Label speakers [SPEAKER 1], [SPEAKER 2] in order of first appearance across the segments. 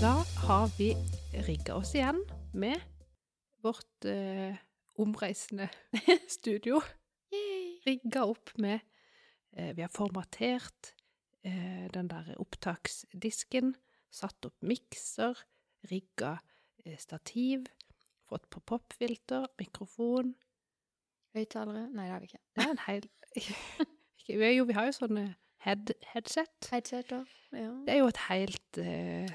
[SPEAKER 1] Da har vi rigga oss igjen med vårt eh, omreisende studio. Rigga opp med eh, Vi har formatert eh, den der opptaksdisken, satt opp mikser, rigga eh, stativ, fått på popfilter, mikrofon
[SPEAKER 2] Høyttalere? Nei, det har vi ikke.
[SPEAKER 1] Det er en hel Ikke- vi- Jo, vi har jo sånne head, headset.
[SPEAKER 2] Headseter? Ja.
[SPEAKER 1] Det er jo et helt eh,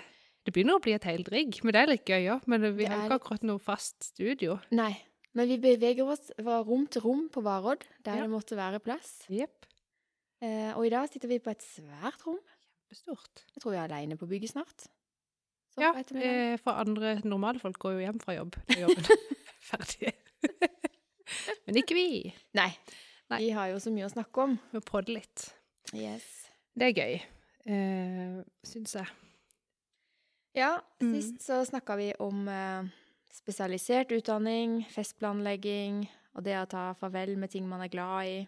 [SPEAKER 1] Det begynner å bli et helt rigg, men det er litt gøy òg. Men vi
[SPEAKER 2] Det
[SPEAKER 1] har jo
[SPEAKER 2] er
[SPEAKER 1] ikke akkurat noe fast studio.
[SPEAKER 2] Nei. Men vi beveger oss fra rom til rom på Varodd, der
[SPEAKER 1] Ja.
[SPEAKER 2] det måtte være plass.
[SPEAKER 1] Jepp.
[SPEAKER 2] Eh, og i dag sitter vi på et svært rom.
[SPEAKER 1] Stort.
[SPEAKER 2] Jeg tror vi er aleine på bygget snart. Så
[SPEAKER 1] Ja,
[SPEAKER 2] på ettermiddagen.
[SPEAKER 1] eh, for andre normale folk går jo hjem fra jobb når jobben er ferdig. men ikke vi.
[SPEAKER 2] Nei.
[SPEAKER 1] Nei.
[SPEAKER 2] Vi har jo så mye å snakke om.
[SPEAKER 1] Vi må podde litt.
[SPEAKER 2] Yes.
[SPEAKER 1] Det er gøy, eh, syns jeg.
[SPEAKER 2] Ja,
[SPEAKER 1] Mm.
[SPEAKER 2] sist så snakka vi om eh, spesialisert utdanning, festplanlegging og det å ta farvel med ting man er glad i.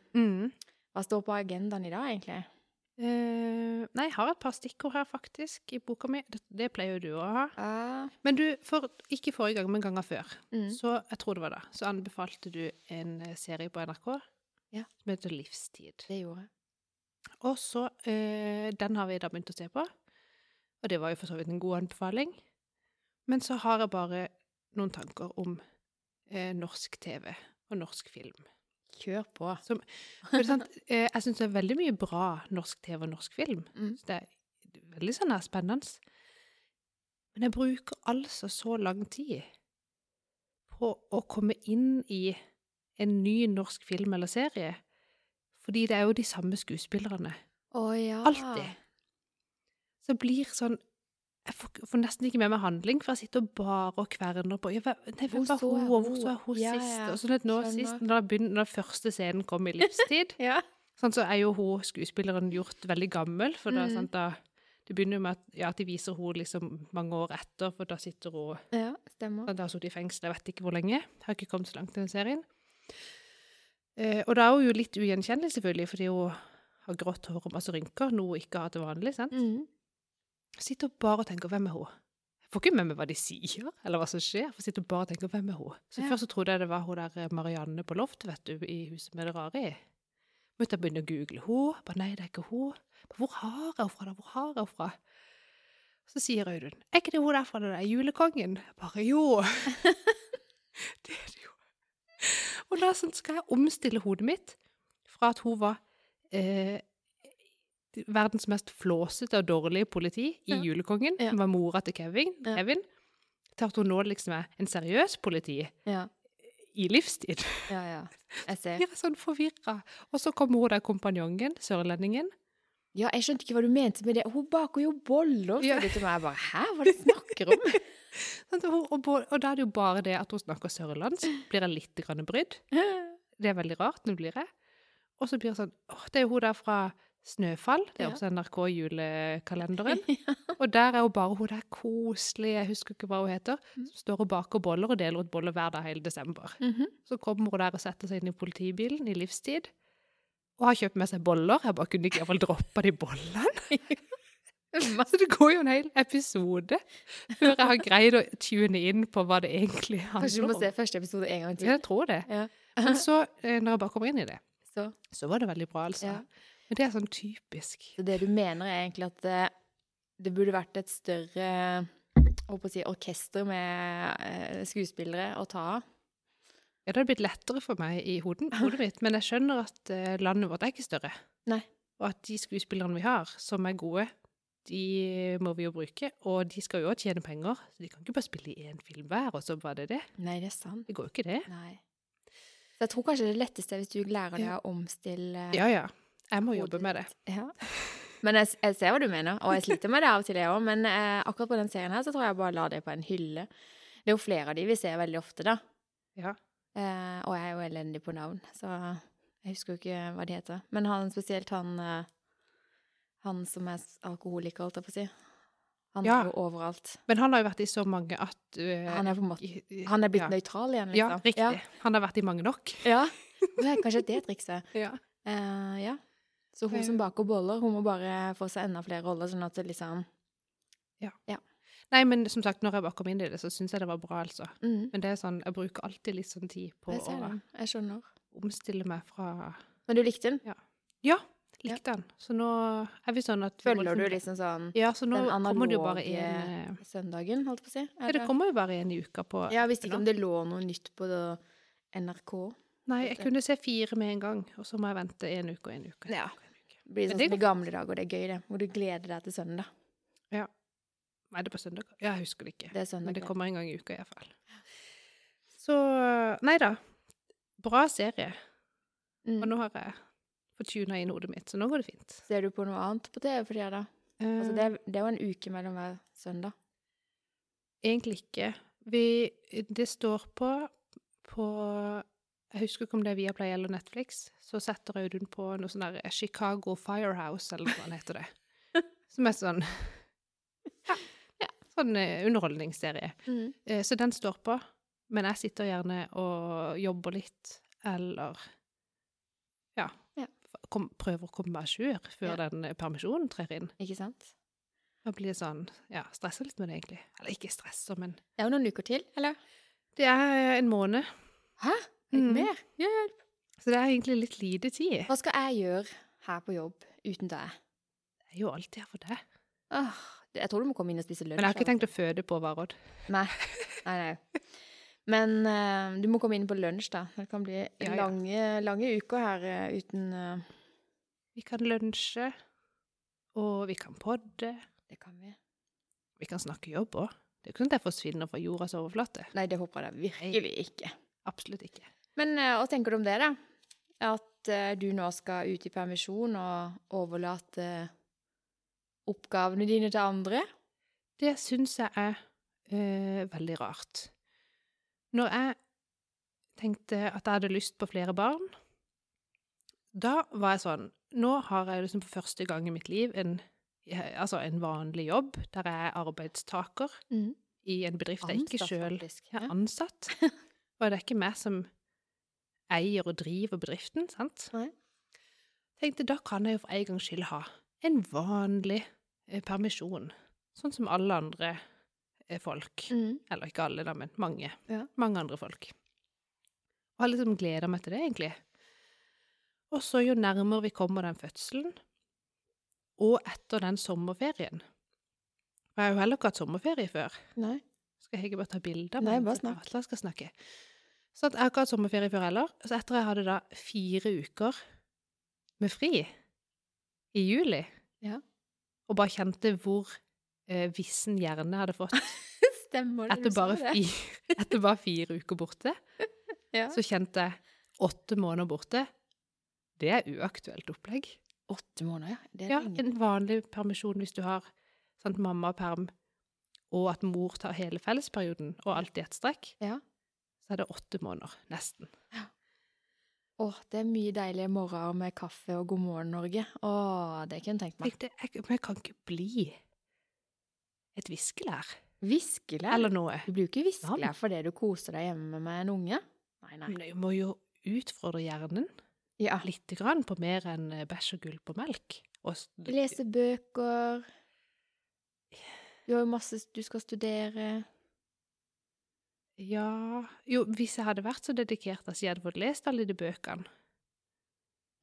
[SPEAKER 2] Hva står på agendaen i dag, egentlig?
[SPEAKER 1] Eh, nei, jeg har et par stikkord her, faktisk, i boka mi. Det, det pleier jo du å ha.
[SPEAKER 2] Ah,
[SPEAKER 1] Men du, for, ikke forrige gang, men ganger før,
[SPEAKER 2] mm.
[SPEAKER 1] så jeg tror det var da, så anbefalte du en eh, serie på NRK
[SPEAKER 2] Ja.
[SPEAKER 1] som heter Livstid.
[SPEAKER 2] Det gjorde jeg.
[SPEAKER 1] Og så eh, Den har vi da begynt å se på. Og det var jo for så vidt en god anbefaling. Men så har jeg bare noen tanker om eh, norsk TV og norsk film.
[SPEAKER 2] Kjør på.
[SPEAKER 1] For det er sant, eh, jeg syns det er veldig mye bra norsk TV og norsk film.
[SPEAKER 2] Mm.
[SPEAKER 1] Så det er veldig sånn her spennende. Men jeg bruker altså så lang tid på å komme inn i en ny norsk film eller serie. Fordi det er jo de samme skuespillerne.
[SPEAKER 2] Å ja.
[SPEAKER 1] Alltid.
[SPEAKER 2] Ah.
[SPEAKER 1] Så jeg blir sånn Jeg får, får nesten ikke med meg handling, for jeg sitter bare og kverner på ja, hva- nei, Hvem
[SPEAKER 2] Hvor
[SPEAKER 1] var
[SPEAKER 2] så
[SPEAKER 1] hun, og
[SPEAKER 2] jeg
[SPEAKER 1] hvor
[SPEAKER 2] hun?
[SPEAKER 1] så jeg hun
[SPEAKER 2] Ja,
[SPEAKER 1] sist?
[SPEAKER 2] ja,
[SPEAKER 1] Og sånn at nå
[SPEAKER 2] skjønner.
[SPEAKER 1] sist, når, begynner, når første scenen kom i livstid,
[SPEAKER 2] Ja.
[SPEAKER 1] sånn, så er jo hun, skuespilleren gjort veldig gammel. For da,
[SPEAKER 2] Mm.
[SPEAKER 1] sant, da, det begynner jo med at, ja, at de viser henne liksom mange år etter, for da sitter hun
[SPEAKER 2] ja, stemmer.
[SPEAKER 1] sant, Da har hun sittet i fengsel, jeg vet ikke hvor lenge. Har ikke kommet så langt i den serien. Eh, og da er hun jo litt ugjenkjennelig, selvfølgelig, fordi hun har grått hår og masse rynker, noe hun ikke har til vanlig. sant?
[SPEAKER 2] Mm.
[SPEAKER 1] Sitter og bare og tenker 'hvem er hun'? Jeg får ikke med meg hva de sier, eller hva som skjer. Jeg får sitte og bare tenke 'hvem er hun'? Så
[SPEAKER 2] Ja.
[SPEAKER 1] Først så trodde jeg det var hun der eh, Marianne på loftet, vet du, i huset med det rare i. Måtte jeg begynne å google hun. Bare nei, det er ikke hun. Bare, Hvor har jeg henne fra, da? Hvor har jeg henne fra? Så sier Audun 'er ikke det hun der fra det der julekongen'? Jeg Bare jo. det er det jo. Og da sånn skal jeg omstille hodet mitt fra at hun var eh, verdens mest flåsete og dårlige politi i
[SPEAKER 2] Ja.
[SPEAKER 1] Julekongen,
[SPEAKER 2] Ja.
[SPEAKER 1] som var mora til Kevin,
[SPEAKER 2] Ja.
[SPEAKER 1] Kevin, til at hun nå liksom er en seriøs politi
[SPEAKER 2] Ja,
[SPEAKER 1] i livstid.
[SPEAKER 2] ja. ja. Jeg ser.
[SPEAKER 1] Jeg er sånn forvirra. Og så kommer hun der kompanjongen, sørlendingen.
[SPEAKER 2] Ja, jeg skjønte ikke hva du mente med det. Hun baker jo boller,
[SPEAKER 1] Ja.
[SPEAKER 2] sa du til meg. Jeg bare Hæ, hva er det du snakker om?
[SPEAKER 1] Sant, Og, Sånn hun- og, bo- og da er det jo bare det at hun snakker sørlandsk, blir jeg litt grann brydd. Det er veldig rart, nå blir jeg. Og så blir det sånn, åh, det er jo hun der fra Snøfall, det er
[SPEAKER 2] Ja.
[SPEAKER 1] også NRK-julekalenderen. Og der er jo bare hun der koselige, jeg husker ikke hva hun heter,
[SPEAKER 2] Mm.
[SPEAKER 1] som står og baker boller og deler ut boller hver dag hele desember.
[SPEAKER 2] Mhm.
[SPEAKER 1] Så kommer hun der og setter seg inn i politibilen i livstid, og har kjøpt med seg boller. Jeg bare kunne ikke iallfall droppa de bollene. Så det går jo en hel episode før jeg har greid å tune inn på hva det egentlig
[SPEAKER 2] Kanskje du
[SPEAKER 1] handler
[SPEAKER 2] må
[SPEAKER 1] om.
[SPEAKER 2] se første episode en gang
[SPEAKER 1] Ja,
[SPEAKER 2] til.
[SPEAKER 1] jeg tror det.
[SPEAKER 2] Ja.
[SPEAKER 1] Men så, eh, når jeg bare kommer inn i det,
[SPEAKER 2] Så.
[SPEAKER 1] så var det veldig bra, altså.
[SPEAKER 2] Ja.
[SPEAKER 1] Men det er sånn typisk.
[SPEAKER 2] så det du mener, er egentlig at eh, det burde vært et større jeg holdt på å si, orkester med eh, skuespillere å ta av?
[SPEAKER 1] Ja, det hadde blitt lettere for meg i hodet, hodet mitt, men jeg skjønner at eh, landet vårt er ikke større.
[SPEAKER 2] Nei.
[SPEAKER 1] Og at de skuespillerne vi har, som er gode, de eh, må vi jo bruke, og de skal jo også tjene penger, så de kan ikke bare spille i én film hver, og så var det det.
[SPEAKER 2] Nei, det er sant.
[SPEAKER 1] Det går jo ikke det.
[SPEAKER 2] Nei. Så jeg tror kanskje det letteste er hvis du lærer deg
[SPEAKER 1] Ja.
[SPEAKER 2] å omstille
[SPEAKER 1] Ja, ja. Jeg må
[SPEAKER 2] Hodet
[SPEAKER 1] jobbe med det.
[SPEAKER 2] Ja. Men jeg, jeg ser hva du mener, og jeg sliter med det av og til, jeg òg. Men eh, akkurat på den serien her så tror jeg bare la det på en hylle. Det er jo flere av de vi ser veldig ofte, da.
[SPEAKER 1] Ja.
[SPEAKER 2] Eh, og jeg er jo elendig på navn, så jeg husker jo ikke hva de heter. Men han spesielt han eh, Han som er s- alkoholiker, holdt jeg på å si. Han
[SPEAKER 1] Ja.
[SPEAKER 2] er jo overalt.
[SPEAKER 1] Men han har jo vært i så mange at eh,
[SPEAKER 2] Han er, på en måte,
[SPEAKER 1] i- i-
[SPEAKER 2] han er blitt
[SPEAKER 1] ja.
[SPEAKER 2] nøytral igjen,
[SPEAKER 1] Ja,
[SPEAKER 2] liksom.
[SPEAKER 1] riktig. Han har vært i mange nok.
[SPEAKER 2] Ja. Det er kanskje det trikset.
[SPEAKER 1] Ja.
[SPEAKER 2] Eh, ja. Så hun som baker boller, hun må bare få seg enda flere roller, sånn at det liksom
[SPEAKER 1] Nei, men som sagt, når jeg bare kom inn i det, så syns jeg det var bra, altså.
[SPEAKER 2] mm,
[SPEAKER 1] Men det er sånn, jeg bruker alltid litt sånn tid på
[SPEAKER 2] Jeg ser
[SPEAKER 1] å
[SPEAKER 2] det. Jeg skjønner.
[SPEAKER 1] omstille meg fra
[SPEAKER 2] Men du likte den?
[SPEAKER 1] Ja, likte han. Så nå er vi sånn at vi må
[SPEAKER 2] Føler du
[SPEAKER 1] liksom-
[SPEAKER 2] liksom sånn
[SPEAKER 1] Ja, så nå
[SPEAKER 2] den
[SPEAKER 1] kommer det jo bare
[SPEAKER 2] analoge-
[SPEAKER 1] en eh,
[SPEAKER 2] søndagen, holdt på å si? Er
[SPEAKER 1] Ja, det kommer jo bare en i uka på
[SPEAKER 2] Ja, jeg visste ikke om det lå noe nytt på det NRK.
[SPEAKER 1] Nei, jeg
[SPEAKER 2] Vet du.
[SPEAKER 1] kunne se fire med en gang, og så må jeg vente en uke og en uke.
[SPEAKER 2] Ja. Det blir
[SPEAKER 1] Men
[SPEAKER 2] sånn
[SPEAKER 1] det
[SPEAKER 2] som i gamle dager, det er gøy, det. Hvor du gleder deg til søndag.
[SPEAKER 1] Er det på søndag? Ja, jeg husker det ikke.
[SPEAKER 2] Det er søndag.
[SPEAKER 1] Men det
[SPEAKER 2] kveld.
[SPEAKER 1] kommer en gang i uka, iallfall. Så Nei da. Bra serie. Og
[SPEAKER 2] Mm.
[SPEAKER 1] nå har jeg fått tuna inn hodet mitt, så nå går det fint.
[SPEAKER 2] Ser du på noe annet på TV for tida, da? Altså, det,
[SPEAKER 1] Eh,
[SPEAKER 2] er- det er jo en uke mellom hver søndag.
[SPEAKER 1] Egentlig ikke. Vi Det står på på jeg husker ikke om det er Viaplay eller Netflix. Så setter Audun på noe sånn der Chicago Firehouse, eller hva det heter det. Som er sånn ja, ja, Sånn eh, underholdningsserie. Eh, Så den står på, men jeg sitter gjerne og jobber litt, eller ja,
[SPEAKER 2] Ja.
[SPEAKER 1] f- kom, prøver å komme meg à jour før den eh, permisjonen trer inn.
[SPEAKER 2] Ikke sant?
[SPEAKER 1] Da blir det sånn, ja, stresser litt med det egentlig. Eller ikke stresser, men
[SPEAKER 2] Det er jo noen uker til, eller?
[SPEAKER 1] det er eh, en måned,
[SPEAKER 2] Hæ? Litt
[SPEAKER 1] Mm.
[SPEAKER 2] mer? Hjelp!
[SPEAKER 1] så det er egentlig litt lite tid.
[SPEAKER 2] Hva skal jeg gjøre her på jobb uten deg?
[SPEAKER 1] Det er jo alltid her for deg.
[SPEAKER 2] Åh, det- jeg tror du må komme inn og spise
[SPEAKER 1] Men
[SPEAKER 2] lunsj.
[SPEAKER 1] jeg har ikke
[SPEAKER 2] altså.
[SPEAKER 1] tenkt å føde på Varodd.
[SPEAKER 2] Nei. nei, nei. Men eh, du må komme inn på lunsj, da. Det kan bli
[SPEAKER 1] ja.
[SPEAKER 2] Lange, lange uker her eh, uten eh,
[SPEAKER 1] Vi kan lunsje, og vi kan podde,
[SPEAKER 2] Det kan vi.
[SPEAKER 1] vi kan snakke jobb også. Det er jo ikke sånn at jeg forsvinner fra jordas overflate.
[SPEAKER 2] Nei, det håper jeg da virkelig ikke.
[SPEAKER 1] Absolutt ikke.
[SPEAKER 2] Men eh, hva tenker du om det, da? At eh, du nå skal ut i permisjon og overlate oppgavene dine til andre?
[SPEAKER 1] Det syns jeg er eh, veldig rart. Når jeg tenkte at jeg hadde lyst på flere barn, da var jeg sånn Nå har jeg liksom for første gang i mitt liv en, eh, altså en vanlig jobb der jeg er arbeidstaker
[SPEAKER 2] Mm.
[SPEAKER 1] i en bedrift jeg ikke sjøl
[SPEAKER 2] faktisk.
[SPEAKER 1] jeg
[SPEAKER 2] Ja.
[SPEAKER 1] er ansatt. Og det er ikke meg som eier og driver bedriften, sant?
[SPEAKER 2] Nei.
[SPEAKER 1] Tenkte, da kan jeg jo for en gangs skyld ha en vanlig eh, permisjon. Sånn som alle andre eh, folk.
[SPEAKER 2] Mm.
[SPEAKER 1] Eller ikke alle, da, men mange.
[SPEAKER 2] Ja.
[SPEAKER 1] Mange andre folk. Og har liksom gleda meg til det, egentlig. Og så jo nærmere vi kommer den fødselen, og etter den sommerferien For jeg har jo heller ikke hatt sommerferie før.
[SPEAKER 2] Nei.
[SPEAKER 1] Skal jeg ikke bare ta bilder?
[SPEAKER 2] Nei,
[SPEAKER 1] mens jeg
[SPEAKER 2] bare snakk.
[SPEAKER 1] prater? Jeg skal snakke. Så at jeg har ikke hatt sommerferie før heller. Så etter jeg hadde da fire uker med fri i juli,
[SPEAKER 2] Ja.
[SPEAKER 1] og bare kjente hvor eh, vissen hjerne hadde fått
[SPEAKER 2] Stemmer det? du
[SPEAKER 1] etter
[SPEAKER 2] sa
[SPEAKER 1] bare,
[SPEAKER 2] det?
[SPEAKER 1] fire, etter bare fire uker borte,
[SPEAKER 2] Ja.
[SPEAKER 1] så kjente jeg åtte måneder borte. Det er uaktuelt opplegg.
[SPEAKER 2] Åtte måneder, ja. Det er
[SPEAKER 1] Ja,
[SPEAKER 2] lenge.
[SPEAKER 1] en vanlig permisjon hvis du har sant, mamma og perm, og at mor tar hele fellesperioden, og alt i ett strekk,
[SPEAKER 2] Ja.
[SPEAKER 1] så er det åtte måneder, nesten.
[SPEAKER 2] Åh, det er mye deilige morgener med kaffe og God morgen Norge. Åh, det kunne jeg tenkt meg.
[SPEAKER 1] Tenkte, jeg, men jeg kan ikke bli et viskelær,
[SPEAKER 2] Viskelær?
[SPEAKER 1] eller noe.
[SPEAKER 2] Du blir jo ikke
[SPEAKER 1] Navn.
[SPEAKER 2] viskelær fordi du koser deg hjemme med en unge. Nei, nei.
[SPEAKER 1] Men jeg må jo utfordre hjernen
[SPEAKER 2] Ja.
[SPEAKER 1] litt grann på mer enn eh, bæsj og gulp og melk. Og, s-
[SPEAKER 2] Lese bøker. Du har jo masse Du skal studere.
[SPEAKER 1] ja, jo, hvis jeg hadde vært så dedikert at jeg hadde fått lest alle de bøkene,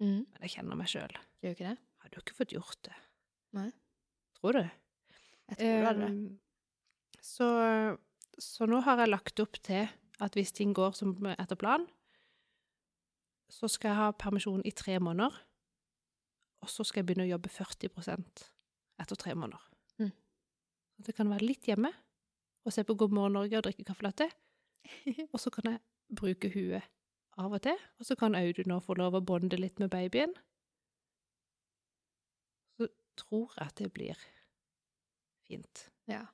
[SPEAKER 2] Mm.
[SPEAKER 1] men jeg kjenner meg selv,
[SPEAKER 2] Gjør ikke det?
[SPEAKER 1] hadde jo ikke fått gjort det.
[SPEAKER 2] Nei.
[SPEAKER 1] Tror du?
[SPEAKER 2] Jeg tror du hadde det.
[SPEAKER 1] Um, Så, så nå har jeg lagt opp til at hvis ting går som etter plan, så skal jeg ha permisjon i tre måneder, og så skal jeg begynne å jobbe 40 etter tre måneder.
[SPEAKER 2] Mm.
[SPEAKER 1] Så det kan være litt hjemme og se på God morgen Norge og drikke kaffelatte, og så kan jeg bruke huet av og til, og så kan Audun nå få lov å bonde litt med babyen. Så tror jeg at det blir fint.
[SPEAKER 2] Ja.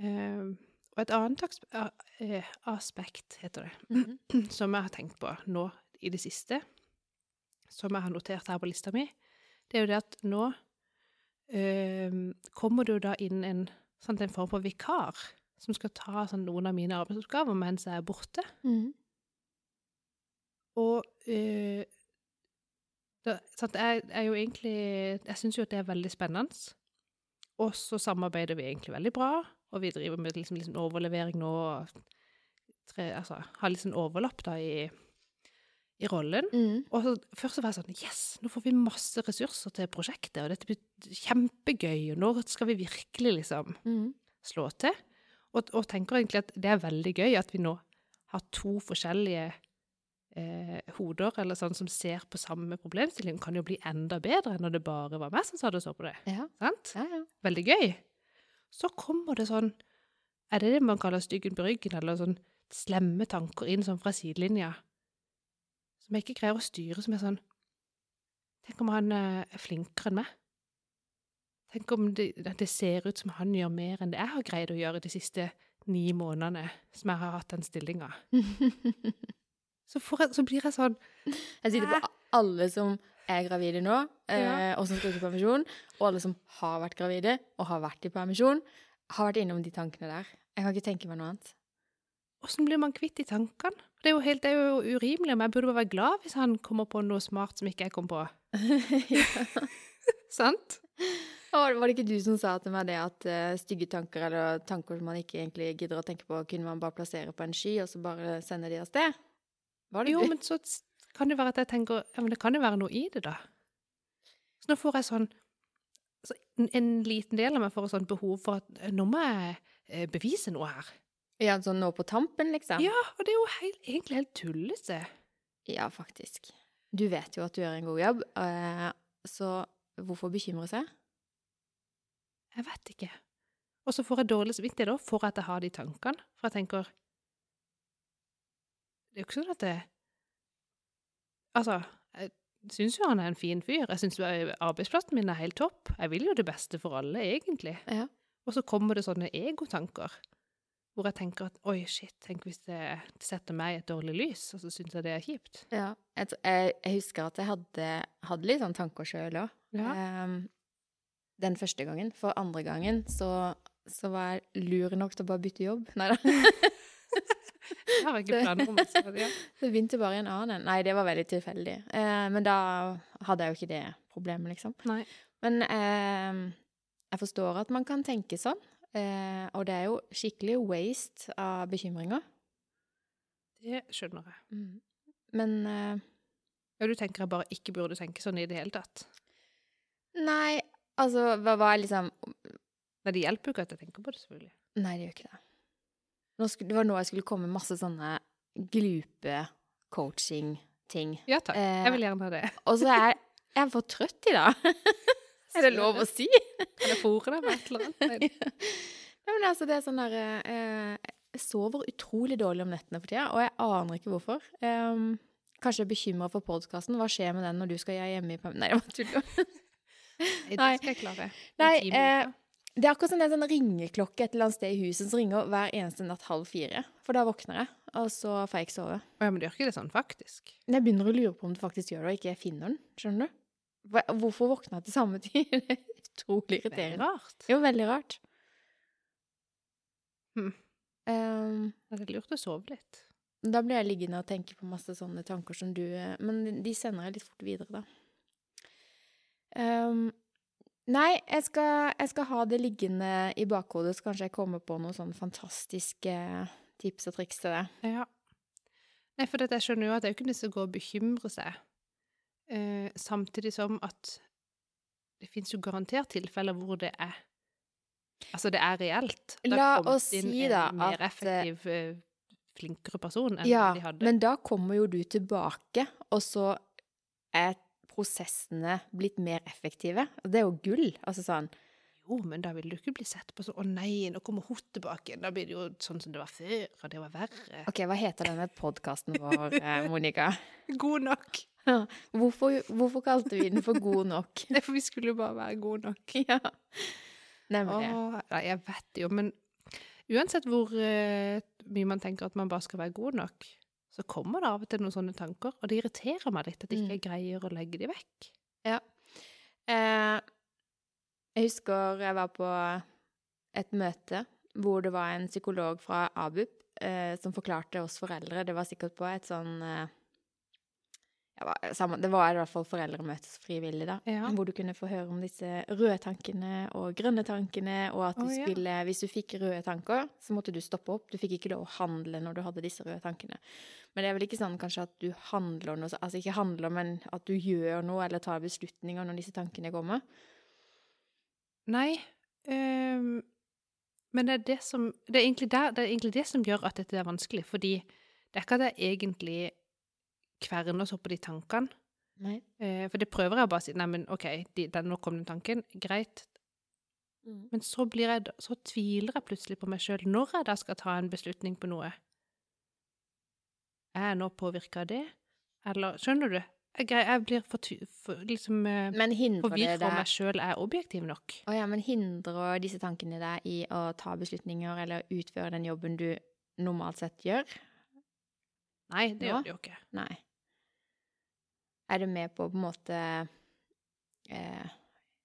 [SPEAKER 1] Eh, og et annet aks- a- eh, aspekt, heter det,
[SPEAKER 2] Mhm.
[SPEAKER 1] som jeg har tenkt på nå i det siste, som jeg har notert her på lista mi, det er jo det at nå eh, kommer det jo da inn en, sant, en form for vikar som skal ta sånn, noen av mine arbeidsoppgaver mens jeg er borte.
[SPEAKER 2] Mhm.
[SPEAKER 1] Og eh, da, sant, jeg er jo egentlig Jeg syns jo at det er veldig spennende. Og så samarbeider vi egentlig veldig bra, og vi driver med liksom, liksom overlevering nå. og Tre, altså, har litt sånn overlapp da i, i rollen.
[SPEAKER 2] Mhm.
[SPEAKER 1] Og så, først så var jeg sånn Yes, nå får vi masse ressurser til prosjektet, og dette blir kjempegøy, og når skal vi virkelig liksom
[SPEAKER 2] Mhm.
[SPEAKER 1] slå til? Og, og tenker egentlig at det er veldig gøy at vi nå har to forskjellige eh, hoder eller sånn som ser på samme problemstilling. Kan jo bli enda bedre enn når det bare var meg som sa det og så på det.
[SPEAKER 2] Ja.
[SPEAKER 1] Sant?
[SPEAKER 2] Ja, ja.
[SPEAKER 1] Veldig gøy. Så kommer det sånn Er det det man kaller styggen på ryggen, eller sånn slemme tanker inn sånn fra sidelinja? Som jeg ikke greier å styre, som er sånn Tenk om han eh, er flinkere enn meg? Tenk om det, at det ser ut som han gjør mer enn det jeg har greid å gjøre de siste ni månedene som jeg har hatt den stillinga? Så, får jeg- så blir jeg sånn
[SPEAKER 2] Jeg sitter på a- alle som er gravide nå, eh, og som skal ut i permisjon, og alle som har vært gravide og har vært i permisjon, har vært innom de tankene der. Jeg kan ikke tenke meg noe annet.
[SPEAKER 1] Åssen blir man kvitt de tankene? Det er jo, helt, det er jo urimelig, men jeg burde bare være glad hvis han kommer på noe smart som ikke jeg kom på. Sant?
[SPEAKER 2] Var var det ikke du som sa til meg det at eh, stygge tanker eller tanker som man ikke egentlig gidder å tenke på, kunne man bare plassere på en sky og så bare sende de av sted? Var det
[SPEAKER 1] Jo,
[SPEAKER 2] du?
[SPEAKER 1] men så s- kan det være at jeg tenker ja, men det kan jo være noe i det, da. Så nå får jeg sånn så en, en liten del av meg får et sånt behov for at eh, nå må jeg eh, bevise noe her.
[SPEAKER 2] Ja, sånn nå på tampen, liksom?
[SPEAKER 1] Ja, og det er jo heil, egentlig helt tullete.
[SPEAKER 2] Ja, faktisk. Du vet jo at du gjør en god jobb, eh, så hvorfor bekymre seg?
[SPEAKER 1] Jeg vet ikke. Og så får jeg dårlig samvittighet da, for at jeg har de tankene. For jeg tenker Det er jo ikke sånn at det Altså, jeg syns jo han er en fin fyr. Jeg syns arbeidsplassen min er helt topp. Jeg vil jo det beste for alle, egentlig.
[SPEAKER 2] Ja.
[SPEAKER 1] Og så kommer det sånne egotanker. Hvor jeg tenker at oi, shit, tenk hvis det setter meg i et dårlig lys, og så syns jeg det er kjipt.
[SPEAKER 2] Ja. Jeg, tr- jeg, jeg husker at jeg hadde, hadde litt sånn tanker sjøl òg. den første gangen. For andre gangen så, så var jeg lur nok til å bare bytte jobb. Nei da.
[SPEAKER 1] Jeg har ikke planer om det. så Ja.
[SPEAKER 2] Så begynte jeg bare i en annen en. Nei, det var veldig tilfeldig. Eh, men da hadde jeg jo ikke det problemet, liksom.
[SPEAKER 1] Nei.
[SPEAKER 2] Men eh, jeg forstår at man kan tenke sånn. Eh, og det er jo skikkelig waste av bekymringer.
[SPEAKER 1] Det skjønner jeg.
[SPEAKER 2] Mm. Men eh,
[SPEAKER 1] Ja, du tenker jeg bare ikke burde tenke sånn i det hele tatt?
[SPEAKER 2] Nei, altså hva var liksom
[SPEAKER 1] Nei, det hjelper jo ikke at jeg tenker på det, selvfølgelig.
[SPEAKER 2] Nei, det gjør ikke det. Nå sku- det var nå jeg skulle komme med masse sånne glupe coaching-ting.
[SPEAKER 1] Ja takk, jeg
[SPEAKER 2] Eh,
[SPEAKER 1] vil gjerne ha det.
[SPEAKER 2] Og så er jeg- jeg er for trøtt i dag. Er det lov å si?
[SPEAKER 1] Kan jeg fôre deg med et eller annet? Nei.
[SPEAKER 2] Ja, men altså, det er sånn der eh, eh, Jeg sover utrolig dårlig om nettene for tida, og jeg aner ikke hvorfor. Ehm, kanskje jeg er bekymra for podkasten. Hva skjer med den når du skal gjøre hjemme i perm... Nei, jeg bare tuller.
[SPEAKER 1] Nei,
[SPEAKER 2] Nei.
[SPEAKER 1] det skal jeg klare. En
[SPEAKER 2] Nei,
[SPEAKER 1] time
[SPEAKER 2] eh,
[SPEAKER 1] ut,
[SPEAKER 2] Det er akkurat som det er en sånn ringeklokke et eller annet sted i huset som ringer hver eneste natt halv fire. For da våkner jeg, og så får jeg ikke sove.
[SPEAKER 1] da. Å ja, men det gjør ikke det sånn, faktisk.
[SPEAKER 2] Men jeg begynner å lure på om du faktisk gjør det, og ikke jeg finner den. Skjønner du? Hva, hvorfor våkner jeg til samme tid? Det er utrolig
[SPEAKER 1] Det er
[SPEAKER 2] irriterende.
[SPEAKER 1] rart.
[SPEAKER 2] Jo, veldig rart.
[SPEAKER 1] Hmm.
[SPEAKER 2] Ehm,
[SPEAKER 1] Ja, Det er lurt å sove litt.
[SPEAKER 2] da blir jeg liggende og tenke på masse sånne tanker som du eh, Men de sender jeg litt fort videre, da. Ehm, nei, jeg skal, jeg skal ha det liggende i bakhodet, så kanskje jeg kommer på noen sånne fantastiske eh, tips og triks til det.
[SPEAKER 1] Ja. Nei, for dette, jeg skjønner jo at det er jo ikke noe som går å bekymre seg. Eh, samtidig som at det finnes jo garantert tilfeller hvor det er Altså, det er reelt. Det har
[SPEAKER 2] La
[SPEAKER 1] kommet
[SPEAKER 2] oss
[SPEAKER 1] inn
[SPEAKER 2] si
[SPEAKER 1] en
[SPEAKER 2] da
[SPEAKER 1] mer
[SPEAKER 2] at, eh,
[SPEAKER 1] effektiv, eh, flinkere person enn
[SPEAKER 2] Ja,
[SPEAKER 1] de hadde.
[SPEAKER 2] men da kommer jo du tilbake, og så er prosessene blitt mer effektive. Og Det er jo gull. Altså sånn
[SPEAKER 1] Jo, men da vil du ikke bli sett på sånn 'Å nei, nå kommer hun tilbake'. igjen. Da blir det jo sånn som det var før, og det var verre.
[SPEAKER 2] OK, hva heter denne podkasten vår, eh, Monica?
[SPEAKER 1] God nok.
[SPEAKER 2] Hvorfor, hvorfor kalte vi den for God nok?
[SPEAKER 1] Det er for vi skulle jo bare være gode nok.
[SPEAKER 2] ja. Nemlig.
[SPEAKER 1] Åh, nei, jeg vet det jo, men uansett hvor eh, mye man tenker at man bare skal være god nok, så kommer det av og til noen sånne tanker, og det Mm. irriterer meg litt at jeg ikke greier å legge de vekk.
[SPEAKER 2] Eh, Jeg husker jeg var på et møte hvor det var en psykolog fra ABUP eh, som forklarte oss foreldre Det var sikkert på et sånn eh, ja, hva- samme- Det var i hvert fall foreldremøtes frivillig, da.
[SPEAKER 1] Ja.
[SPEAKER 2] Hvor du kunne få høre om disse røde tankene og grønne tankene, og at du
[SPEAKER 1] Å, ja.
[SPEAKER 2] skulle Hvis du fikk røde tanker, så måtte du stoppe opp. Du fikk ikke lov å handle når du hadde disse røde tankene. Men det er vel ikke sånn kanskje at du handler noe, altså ikke handler, men at du gjør noe eller tar beslutninger når disse tankene kommer.
[SPEAKER 1] Nei. ehm, men det er det som det er, egentlig der, det er egentlig det som gjør at dette er vanskelig. Fordi det er ikke at jeg egentlig kverner så på de tankene.
[SPEAKER 2] Nei.
[SPEAKER 1] Eh, for det prøver jeg å bare å si. Nei, men OK, de, den, nå kom den tanken. Greit.
[SPEAKER 2] Mm.
[SPEAKER 1] Men så, blir jeg, da- så tviler jeg plutselig på meg sjøl når jeg da skal ta en beslutning på noe. Er jeg nå påvirka av det? Eller Skjønner du? Jeg, grei- jeg blir for, tvi- for, liksom, eh,
[SPEAKER 2] Men hindrer det
[SPEAKER 1] forvirra om
[SPEAKER 2] deg
[SPEAKER 1] jeg sjøl er objektiv nok.
[SPEAKER 2] Å ja, men hindrer disse tankene deg i å ta beslutninger eller utføre den jobben du normalt sett gjør?
[SPEAKER 1] Nei, det
[SPEAKER 2] Ja.
[SPEAKER 1] gjør det jo ikke.
[SPEAKER 2] Nei. Er det med på på en måte eh,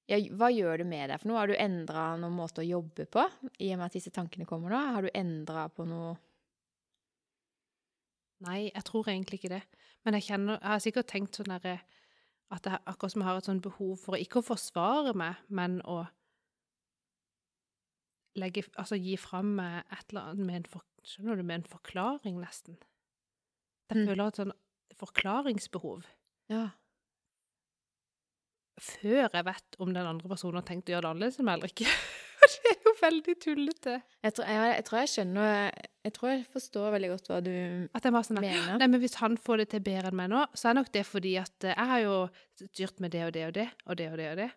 [SPEAKER 2] ja, Hva gjør det med deg for noe? Har du endra noen måte å jobbe på i og med at disse tankene kommer nå? Har du endra på noe
[SPEAKER 1] Nei, jeg tror egentlig ikke det. Men jeg, kjenner, jeg har sikkert tenkt sånn derre At jeg akkurat som jeg har et sånn behov for ikke å forsvare meg, men å legge, altså gi fra meg et eller annet med en, for, skjønner du, med en forklaring, nesten. Jeg
[SPEAKER 2] Mm.
[SPEAKER 1] føler et sånn forklaringsbehov
[SPEAKER 2] Ja.
[SPEAKER 1] før jeg vet om den andre personen har tenkt å gjøre det annerledes enn meg eller ikke. Og det er jo veldig tullete.
[SPEAKER 2] Jeg tror jeg, jeg, tror jeg skjønner Jeg tror jeg forstår veldig godt hva du
[SPEAKER 1] At jeg bare sånn
[SPEAKER 2] mener.
[SPEAKER 1] Nei, men hvis han får det til bedre enn meg nå, så er nok det fordi at eh, jeg har jo styrt med det og det og det, og det og det og det,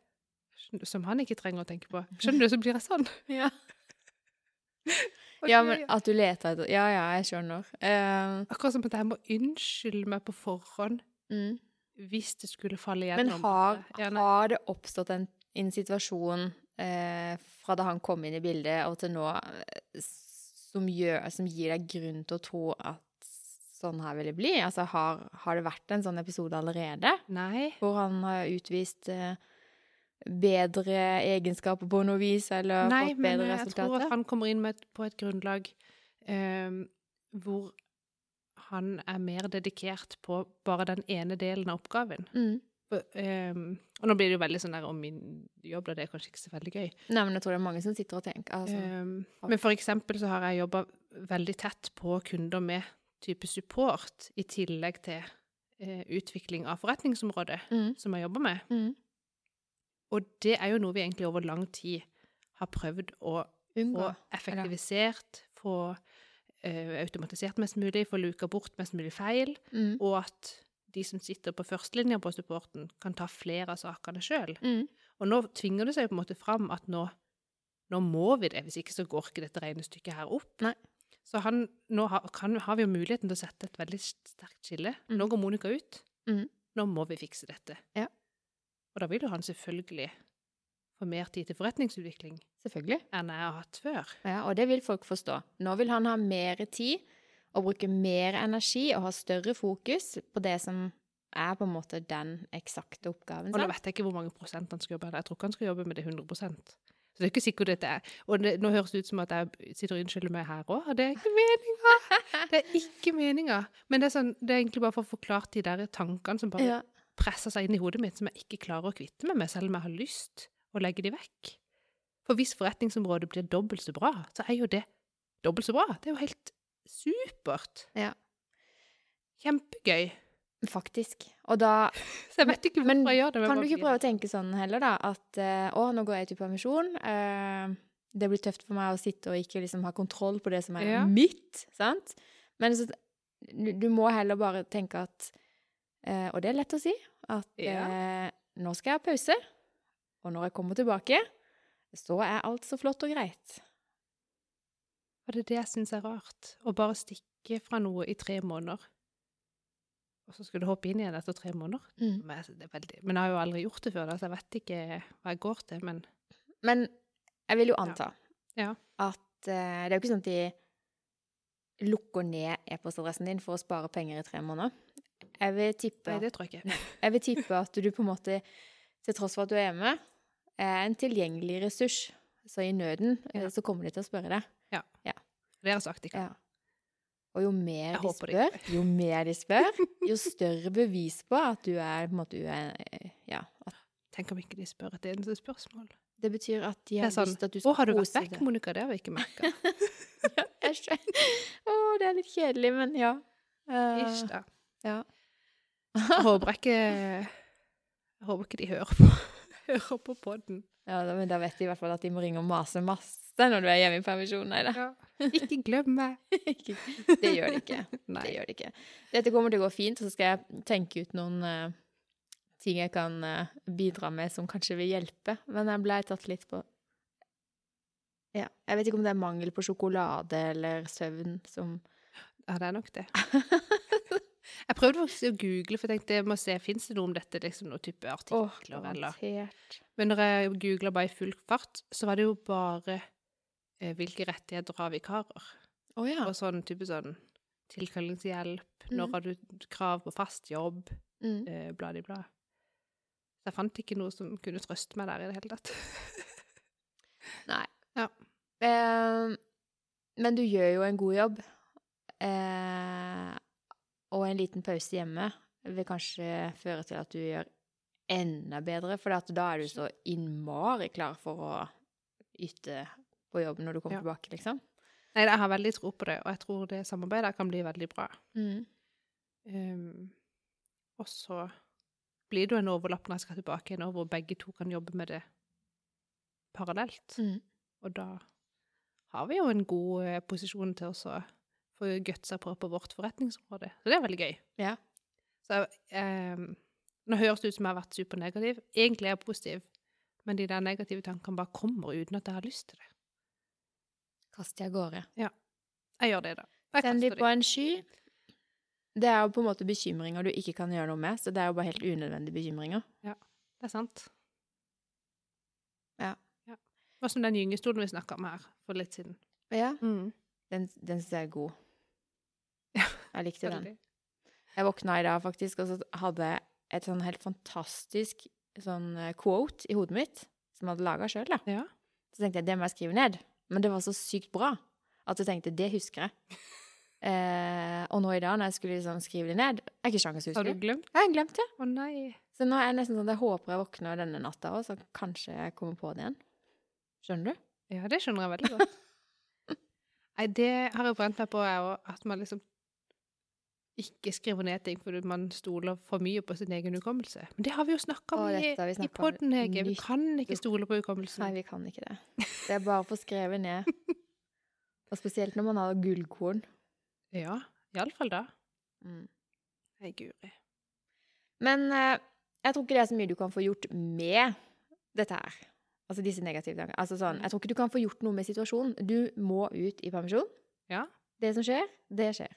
[SPEAKER 1] Skjønner du? som han ikke trenger å tenke på. Skjønner du, så blir jeg sånn.
[SPEAKER 2] Ja.
[SPEAKER 1] Og
[SPEAKER 2] ja,
[SPEAKER 1] det-
[SPEAKER 2] men at du leter etter Ja, ja, jeg skjønner. Eh,
[SPEAKER 1] Akkurat som at jeg må unnskylde meg på forhånd
[SPEAKER 2] mm.
[SPEAKER 1] hvis det skulle falle
[SPEAKER 2] Men
[SPEAKER 1] igjennom.
[SPEAKER 2] har,
[SPEAKER 1] Ja, nei.
[SPEAKER 2] har det oppstått en, en situasjon eh, fra da han kom inn i bildet og til nå eh, som, gjør, som gir deg grunn til å tro at sånn her vil det bli? Altså, har, har det vært en sånn episode allerede
[SPEAKER 1] Nei.
[SPEAKER 2] hvor han har utvist eh, bedre egenskaper på noe vis, eller
[SPEAKER 1] Nei,
[SPEAKER 2] fått
[SPEAKER 1] men
[SPEAKER 2] bedre
[SPEAKER 1] eh, jeg tror at
[SPEAKER 2] resultater?
[SPEAKER 1] han kommer inn med et, på et grunnlag ehm, hvor han er mer dedikert på bare den ene delen av oppgaven.
[SPEAKER 2] Mm.
[SPEAKER 1] For, ehm, og nå blir det jo veldig sånn der om min jobb, da det er kanskje ikke så veldig gøy.
[SPEAKER 2] Nei, men jeg tror det er mange som sitter og tenker altså,
[SPEAKER 1] Ehm,
[SPEAKER 2] av-
[SPEAKER 1] men for eksempel så har jeg jobba veldig tett på kunder med type support, i tillegg til eh, utvikling av forretningsområdet
[SPEAKER 2] mm,
[SPEAKER 1] som jeg jobber med.
[SPEAKER 2] mm.
[SPEAKER 1] Og det er jo noe vi egentlig over lang tid har prøvd å få
[SPEAKER 2] Unngå.
[SPEAKER 1] effektivisert, få eh, automatisert mest mulig, få luka bort mest mulig feil,
[SPEAKER 2] Mm.
[SPEAKER 1] og at de som sitter på førstelinja på supporten, kan ta flere av sakene sjøl.
[SPEAKER 2] Mm.
[SPEAKER 1] Og nå tvinger det seg jo på en måte fram at nå, nå må vi det, hvis ikke så går ikke dette regnestykket her opp.
[SPEAKER 2] Nei.
[SPEAKER 1] Så han, nå har, kan, har vi jo muligheten til å sette et veldig sterkt skille. Nå går Monica ut.
[SPEAKER 2] Mm.
[SPEAKER 1] Nå må vi fikse dette.
[SPEAKER 2] Ja.
[SPEAKER 1] Og da vil jo han selvfølgelig få mer tid til forretningsutvikling
[SPEAKER 2] Selvfølgelig.
[SPEAKER 1] enn jeg har hatt før.
[SPEAKER 2] Ja, og det vil folk forstå. Nå vil han ha mer tid og bruke mer energi og ha større fokus på det som er på en måte den eksakte oppgaven.
[SPEAKER 1] Og nå
[SPEAKER 2] Sant?
[SPEAKER 1] vet jeg ikke hvor mange prosent han skal jobbe med. Jeg tror ikke han skal jobbe med det 100 Så det er ikke sikkert dette er Og det, nå høres det ut som at jeg sitter og unnskylder meg her òg, og det er ikke meninga! Det er ikke meninga. Men det er, sånn, det er egentlig bare for å forklare de der tankene som bare
[SPEAKER 2] Ja.
[SPEAKER 1] presser seg inn i hodet mitt, som jeg ikke klarer å kvitte meg med, selv om jeg har lyst å legge de vekk. For hvis forretningsområdet blir dobbelt så bra, så er jo det dobbelt så bra. Det er jo helt supert.
[SPEAKER 2] Ja.
[SPEAKER 1] Kjempegøy.
[SPEAKER 2] Faktisk. Og da
[SPEAKER 1] Så jeg vet ikke
[SPEAKER 2] Men-
[SPEAKER 1] hvorfor jeg gjør det. men
[SPEAKER 2] kan du
[SPEAKER 1] bare
[SPEAKER 2] ikke
[SPEAKER 1] blir
[SPEAKER 2] prøve å tenke sånn heller, da, at eh, å, nå går jeg ut i permisjon. eh, det blir tøft for meg å sitte og ikke liksom ha kontroll på det som er
[SPEAKER 1] Ja.
[SPEAKER 2] mitt, sant? Men så, du, du må heller bare tenke at eh, Og det er lett å si. At eh, nå skal jeg ha pause, og når jeg kommer tilbake, så er alt så flott og greit.
[SPEAKER 1] Og det er det jeg syns er rart. Å bare stikke fra noe i tre måneder, og så skulle du hoppe inn igjen etter tre måneder.
[SPEAKER 2] Mm.
[SPEAKER 1] Men jeg- det er veldig, men jeg har jo aldri gjort det før, da, så jeg vet ikke hva jeg går til. Men
[SPEAKER 2] Men jeg vil jo anta
[SPEAKER 1] Ja.
[SPEAKER 2] at eh, det er jo ikke sånn at de lukker ned e-postadressen din for å spare penger i tre måneder. Jeg vil tippe,
[SPEAKER 1] nei, det tror jeg ikke.
[SPEAKER 2] jeg vil tippe at du på en måte, til tross for at du er hjemme, eh, en tilgjengelig ressurs. Så i nøden eh,
[SPEAKER 1] Ja.
[SPEAKER 2] så kommer de til å spørre deg.
[SPEAKER 1] Det har jeg sagt de kan.
[SPEAKER 2] Ja. Og jo mer
[SPEAKER 1] Jeg
[SPEAKER 2] de
[SPEAKER 1] håper
[SPEAKER 2] spør, jo mer de spør, jo større bevis på at du er på en måte uen- eh, Ja. At
[SPEAKER 1] Tenk om ikke de spør et eneste spørsmål.
[SPEAKER 2] det betyr at de
[SPEAKER 1] Det
[SPEAKER 2] har
[SPEAKER 1] er sånn
[SPEAKER 2] lyst til at du
[SPEAKER 1] Å,
[SPEAKER 2] skal
[SPEAKER 1] har du vært
[SPEAKER 2] kose
[SPEAKER 1] vekk,
[SPEAKER 2] deg.
[SPEAKER 1] Monica? Det har vi ikke merka.
[SPEAKER 2] Jeg skjønner. Å, det er litt kjedelig, men ja. Eh,
[SPEAKER 1] Ish, da.
[SPEAKER 2] ja.
[SPEAKER 1] Jeg håper ikke Jeg håper ikke de hører på, hører på podden.
[SPEAKER 2] ja, da- men da vet de i hvert fall at de må ringe og mase masse når du er hjemme i permisjon. Nei da.
[SPEAKER 1] Ikke glem meg.
[SPEAKER 2] Det gjør de ikke. Det
[SPEAKER 1] Nei.
[SPEAKER 2] gjør det ikke. Dette kommer til å gå fint, så skal jeg tenke ut noen eh, ting jeg kan eh, bidra med som kanskje vil hjelpe. Men jeg ble tatt litt på ja. Jeg vet ikke om det er mangel på sjokolade eller søvn som
[SPEAKER 1] Ja, det er nok det. Jeg prøvde faktisk å google, for jeg tenkte jeg må se, fins det noe om dette? Liksom noen type
[SPEAKER 2] Åh,
[SPEAKER 1] artikler eller
[SPEAKER 2] garantert.
[SPEAKER 1] Men når jeg googla bare i full fart, så var det jo bare eh, hvilke rettigheter har vikarer?
[SPEAKER 2] Å ja.
[SPEAKER 1] Og sånn type sånn tilkallingshjelp,
[SPEAKER 2] Mhm.
[SPEAKER 1] når har du krav på fast jobb,
[SPEAKER 2] Mm.
[SPEAKER 1] eh, bla, di, bla. Så jeg fant ikke noe som kunne trøste meg der i det hele tatt.
[SPEAKER 2] Eh, men du gjør jo en god jobb. Eh, og en liten pause hjemme vil kanskje føre til at du gjør enda bedre, for at da er du så innmari klar for å yte på jobb når du
[SPEAKER 1] Ja.
[SPEAKER 2] kommer tilbake, liksom.
[SPEAKER 1] Nei, jeg har veldig tro på det, og jeg tror det samarbeidet kan bli veldig bra.
[SPEAKER 2] Mm.
[SPEAKER 1] Um, og så blir det jo en overlapp når jeg skal tilbake igjen, og hvor begge to kan jobbe med det parallelt.
[SPEAKER 2] Mm.
[SPEAKER 1] Og da har vi jo en god eh, posisjon til oss å få gutsa på på vårt forretningsområde. Så det er veldig gøy.
[SPEAKER 2] Ja.
[SPEAKER 1] Så um, nå høres det ut som jeg har vært supernegativ. Egentlig er jeg positiv, men de der negative tankene bare kommer uten at jeg har lyst til det.
[SPEAKER 2] Kast de av gårde.
[SPEAKER 1] Jeg gjør det, da. Jeg
[SPEAKER 2] Send de
[SPEAKER 1] kaster
[SPEAKER 2] på en sky. Det er jo på en måte bekymringer du ikke kan gjøre noe med, så det er jo bare helt unødvendige bekymringer.
[SPEAKER 1] Det er sant.
[SPEAKER 2] Ja.
[SPEAKER 1] Hva som den gyngestolen vi snakka om her for litt siden.
[SPEAKER 2] Ja. Den, den syns jeg er god.
[SPEAKER 1] Ja,
[SPEAKER 2] Jeg likte den.
[SPEAKER 1] Veldig.
[SPEAKER 2] Jeg våkna i dag faktisk, og så hadde jeg et sånn helt fantastisk sånn eh, quote i hodet mitt, som jeg hadde laga sjøl, da.
[SPEAKER 1] Ja.
[SPEAKER 2] Så tenkte jeg det må jeg skrive ned. Men det var så sykt bra at jeg tenkte det husker jeg. Eh, og nå i dag når jeg skulle liksom skrive det ned Jeg har ikke sjans til å
[SPEAKER 1] Har
[SPEAKER 2] huske
[SPEAKER 1] du
[SPEAKER 2] det.
[SPEAKER 1] glemt?
[SPEAKER 2] Jeg har glemt det.
[SPEAKER 1] Å nei.
[SPEAKER 2] Så nå er jeg nesten sånn at jeg håper jeg våkner denne natta òg, så kanskje jeg kommer på det igjen. Skjønner du?
[SPEAKER 1] Ja, det skjønner jeg veldig godt. nei, det har jeg brent meg på, jeg òg. At man liksom ikke skriver ned ting fordi man stoler for mye på sin egen hukommelse. Men det har vi jo snakka
[SPEAKER 2] Å,
[SPEAKER 1] om i,
[SPEAKER 2] dette har vi
[SPEAKER 1] i
[SPEAKER 2] snakket om.
[SPEAKER 1] podden, Hege. Vi
[SPEAKER 2] Nytt
[SPEAKER 1] kan ikke
[SPEAKER 2] ord.
[SPEAKER 1] stole på
[SPEAKER 2] Nei,
[SPEAKER 1] hukommelsen.
[SPEAKER 2] vi kan ikke det. Det er bare å få skrevet ned. Og spesielt når man har gullkorn.
[SPEAKER 1] Ja, iallfall da.
[SPEAKER 2] Mm.
[SPEAKER 1] Nei, guri.
[SPEAKER 2] Men eh, jeg tror ikke det er så mye du kan få gjort med dette her. Altså disse negative tankene. Altså sånn, jeg tror ikke du kan få gjort noe med situasjonen. Du må ut i permisjon.
[SPEAKER 1] Ja.
[SPEAKER 2] Det som skjer, det skjer.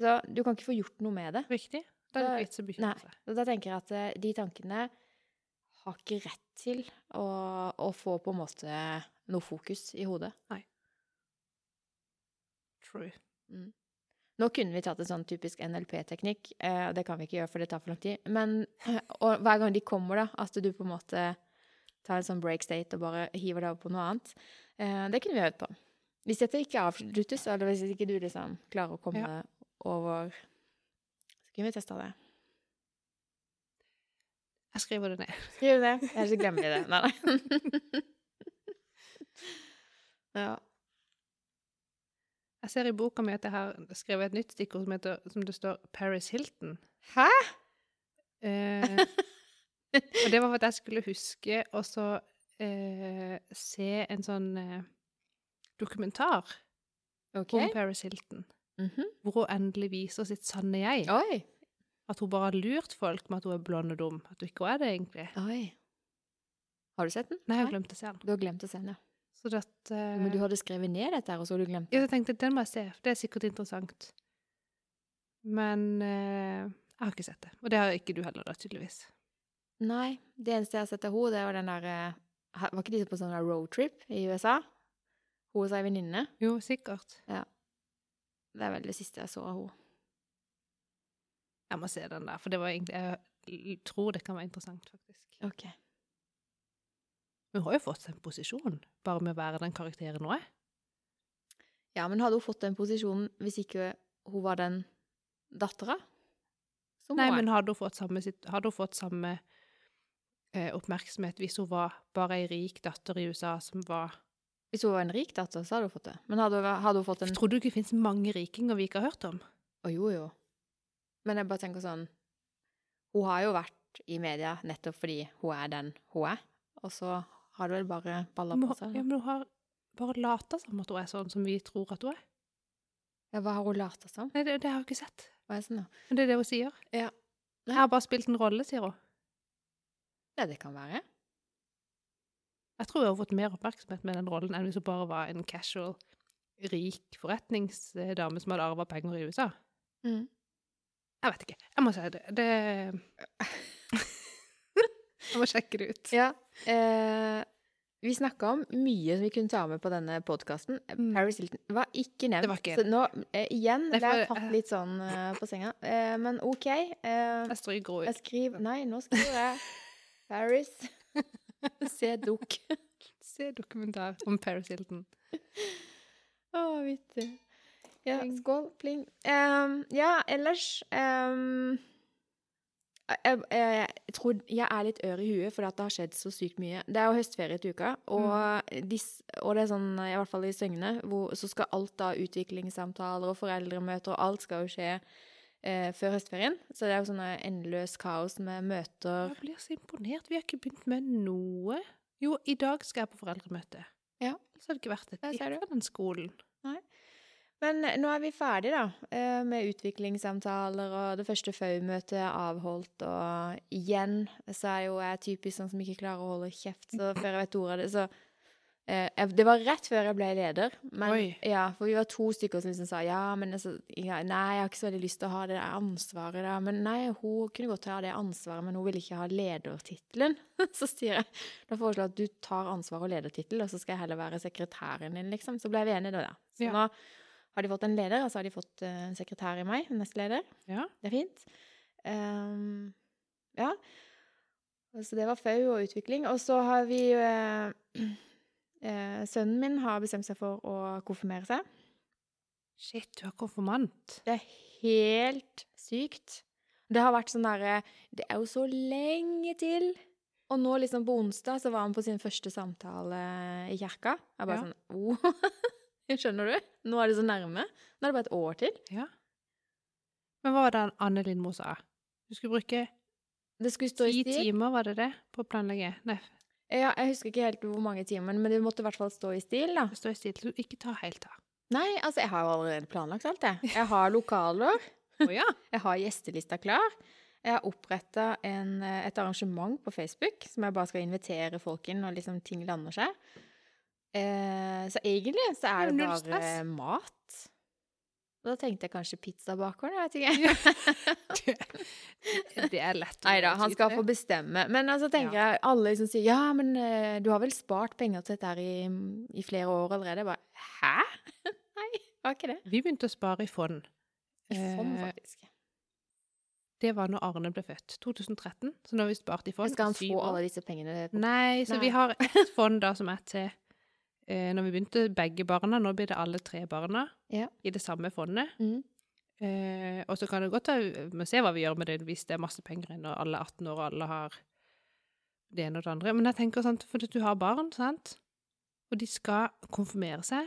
[SPEAKER 2] Så du kan ikke få gjort noe med det.
[SPEAKER 1] Riktig. Da er det ikke vits å bekymre
[SPEAKER 2] Nei.
[SPEAKER 1] seg.
[SPEAKER 2] Så da tenker jeg at eh, de tankene har ikke rett til å, å få på en måte noe fokus i hodet.
[SPEAKER 1] True.
[SPEAKER 2] Nå kunne vi tatt en sånn typisk NLP-teknikk, eh, og det kan vi ikke gjøre, for det tar for lang tid. Men og hver gang de kommer, da, at du på en måte tar en sånn break state og bare hiver deg over på noe annet, eh, det kunne vi øvd på. Hvis dette ikke avsluttes, eller hvis ikke du liksom klarer å komme over Så kunne vi testa det.
[SPEAKER 1] Jeg skriver det ned.
[SPEAKER 2] Skriv det, ellers så glemmer vi det. Nei, nei. ja.
[SPEAKER 1] Jeg ser i boka mi at jeg har skrevet et nytt stikkord som, heter, som det står Paris Hilton.
[SPEAKER 2] Hæ?
[SPEAKER 1] Eh, og det var for at jeg skulle huske å så eh, se en sånn eh, dokumentar
[SPEAKER 2] OK.
[SPEAKER 1] om Paris Hilton,
[SPEAKER 2] Mhm.
[SPEAKER 1] hvor hun endelig viser sitt sanne jeg.
[SPEAKER 2] Oi.
[SPEAKER 1] At hun bare har lurt folk med at hun er blond og dum. At hun ikke er det, egentlig.
[SPEAKER 2] Oi. Har du sett den?
[SPEAKER 1] Nei, jeg glemte å se den.
[SPEAKER 2] Du har glemt å sende.
[SPEAKER 1] Så det at eh,
[SPEAKER 2] Men du hadde skrevet ned dette, her, og så hadde du glemt
[SPEAKER 1] Ja,
[SPEAKER 2] det.
[SPEAKER 1] jeg tenkte, den må jeg se, for det er sikkert interessant. Men eh, jeg har ikke sett det. Og det har ikke du heller, da, tydeligvis.
[SPEAKER 2] Nei, det eneste jeg har sett av henne, det var den der eh, ha- Var ikke de på sånn der roadtrip i USA? Hun og ei venninne.
[SPEAKER 1] Jo, sikkert.
[SPEAKER 2] Det er vel det siste jeg så av henne.
[SPEAKER 1] Jeg må se den der, for det var egentlig Jeg tror det kan være interessant, faktisk.
[SPEAKER 2] Ok.
[SPEAKER 1] Men hun har jo fått seg en posisjon, bare med å være den karakteren hun er.
[SPEAKER 2] Ja, men hadde hun fått den posisjonen hvis ikke hun var den dattera? Som
[SPEAKER 1] Nei,
[SPEAKER 2] hun er.
[SPEAKER 1] men hadde hun fått samme, sitt- hadde hun fått samme eh, oppmerksomhet hvis hun var bare ei rik datter i USA som var
[SPEAKER 2] Hvis hun var en rik datter, så hadde hun fått det. Men hadde hun, hadde hun fått en Å,
[SPEAKER 1] Tror du ikke det finnes mange rikinger vi ikke har hørt om?
[SPEAKER 2] jo, jo. Men jeg bare tenker sånn Hun har jo vært i media nettopp fordi hun er den hun er. Og så har det vel bare balla
[SPEAKER 1] Må,
[SPEAKER 2] på seg.
[SPEAKER 1] ja, men hun har bare lata som at hun er sånn som vi tror at hun er.
[SPEAKER 2] Ja, hva har hun lata som?
[SPEAKER 1] Nei, det, det har jeg ikke sett.
[SPEAKER 2] Hva er det sånn, da?
[SPEAKER 1] Men det er det hun sier.
[SPEAKER 2] Ja.
[SPEAKER 1] Jeg har bare spilt en rolle, sier hun.
[SPEAKER 2] Ja, det kan være.
[SPEAKER 1] Jeg tror hun har fått mer oppmerksomhet med den rollen enn hvis hun bare var en casual, rik forretningsdame som hadde arva penger i USA.
[SPEAKER 2] Mm.
[SPEAKER 1] Jeg vet ikke. Jeg må si det. det... jeg må sjekke det ut.
[SPEAKER 2] Ja. Eh, vi snakka om mye som vi kunne ta med på denne podkasten.
[SPEAKER 1] Mm.
[SPEAKER 2] Paris Hilton var ikke nevnt.
[SPEAKER 1] Det var ikke-
[SPEAKER 2] Så nå, eh, igjen,
[SPEAKER 1] Nei,
[SPEAKER 2] ble jeg
[SPEAKER 1] for-
[SPEAKER 2] tatt litt sånn eh, på senga. Eh, men OK. Eh,
[SPEAKER 1] Jeg stryker henne
[SPEAKER 2] jeg skriver Nei, nå skriver jeg Paris. Se dukk.
[SPEAKER 1] ut. Se dokumentar om Paris Hilton.
[SPEAKER 2] Å, vittig. Ja,
[SPEAKER 1] Pling.
[SPEAKER 2] skål, pling. Ehm, ja, ellers ehm, jeg, jeg, jeg tror jeg er litt ør i huet, fordi at det har skjedd så sykt mye. Det er jo høstferie til uka, og, dis- og det er sånn, i hvert fall i Søgne, hvor, så skal alt av utviklingssamtaler og foreldremøter og alt skal jo skje eh, før høstferien. Så det er jo sånn endeløs kaos med møter.
[SPEAKER 1] Jeg blir så imponert. Vi har ikke begynt med noe. Jo, i dag skal jeg på foreldremøte.
[SPEAKER 2] Ja.
[SPEAKER 1] Ellers hadde det ikke vært et
[SPEAKER 2] Der
[SPEAKER 1] dritt
[SPEAKER 2] ser du.
[SPEAKER 1] fra den skolen.
[SPEAKER 2] Men nå er vi ferdig da, eh, med utviklingssamtaler, og det første FAU-møtet er avholdt, og igjen så er jo jeg typisk sånn som ikke klarer å holde kjeft, så før jeg vet ordet av det, så eh, jeg- Det var rett før jeg ble leder, men
[SPEAKER 1] Oi.
[SPEAKER 2] ja, for vi var to stykker som liksom sa ja, men altså, ja, nei, jeg har ikke så veldig lyst til å ha det der ansvaret der, men nei, hun kunne godt ha det ansvaret, men hun ville ikke ha ledertittelen. Så sier jeg da foreslår jeg at du tar ansvar og ledertittel, og så skal jeg heller være sekretæren din, liksom. Så ble vi enige da, da. Så
[SPEAKER 1] Ja.
[SPEAKER 2] nå har de fått en leder, og så har de fått eh, en sekretær i meg, en nestleder.
[SPEAKER 1] Ja.
[SPEAKER 2] Det er fint. Ehm, ja. Så det var FAU og utvikling. Og så har vi eh, eh, Sønnen min har bestemt seg for å konfirmere seg.
[SPEAKER 1] Shit, du er konfirmant.
[SPEAKER 2] Det er helt sykt. Det har vært sånn derre Det er jo så lenge til. Og nå liksom på onsdag så var han på sin første samtale i kirka. Jeg bare
[SPEAKER 1] Ja.
[SPEAKER 2] sånn oh. Skjønner du? Nå er det så nærme. Nå er det bare et år til.
[SPEAKER 1] Ja. Men hva var det Anne Lindmo sa? Du skulle bruke
[SPEAKER 2] Det skulle stå i
[SPEAKER 1] ti
[SPEAKER 2] stil.
[SPEAKER 1] timer, var det det, på å planlegge? Nei,
[SPEAKER 2] Ja, jeg husker ikke helt hvor mange timer, men det måtte i hvert fall stå i stil, da.
[SPEAKER 1] stå i stil. Du ikke ta helt av.
[SPEAKER 2] Nei, altså, jeg har jo allerede planlagt alt, jeg. Jeg har lokaler,
[SPEAKER 1] Å ja.
[SPEAKER 2] jeg har gjestelista klar. Jeg har oppretta et arrangement på Facebook som jeg bare skal invitere folk inn når liksom ting lander seg. Eh, så egentlig så er
[SPEAKER 1] Det er
[SPEAKER 2] det
[SPEAKER 1] null
[SPEAKER 2] bare
[SPEAKER 1] stress.
[SPEAKER 2] mat. Og da tenkte jeg kanskje pizzabakeren, jeg vet ikke.
[SPEAKER 1] Det er lett. å
[SPEAKER 2] Nei da, han skal
[SPEAKER 1] skyte.
[SPEAKER 2] få bestemme. Men altså tenker jeg, alle som sier ja, men eh, du har vel spart penger til dette her i, i flere år allerede? Jeg bare hæ? Nei, var ikke det.
[SPEAKER 1] Vi begynte å spare i fond.
[SPEAKER 2] I fond,
[SPEAKER 1] Eh,
[SPEAKER 2] faktisk.
[SPEAKER 1] Det var når Arne ble født. 2013. Så nå har vi spart i fond.
[SPEAKER 2] Skal han
[SPEAKER 1] i syv
[SPEAKER 2] få
[SPEAKER 1] år.
[SPEAKER 2] alle disse pengene? på-
[SPEAKER 1] Nei, så
[SPEAKER 2] Nei.
[SPEAKER 1] vi har ett fond da som er til eh, Når vi begynte begge barna, nå blir det alle tre barna
[SPEAKER 2] Ja.
[SPEAKER 1] i det samme fondet.
[SPEAKER 2] Mm.
[SPEAKER 1] Eh, og så kan det godt være Vi må se hva vi gjør med det hvis det er masse penger inn, og alle er 18 år, og alle har det ene og det andre. Men jeg tenker sånn, for du har barn, sant, og de skal konfirmere seg.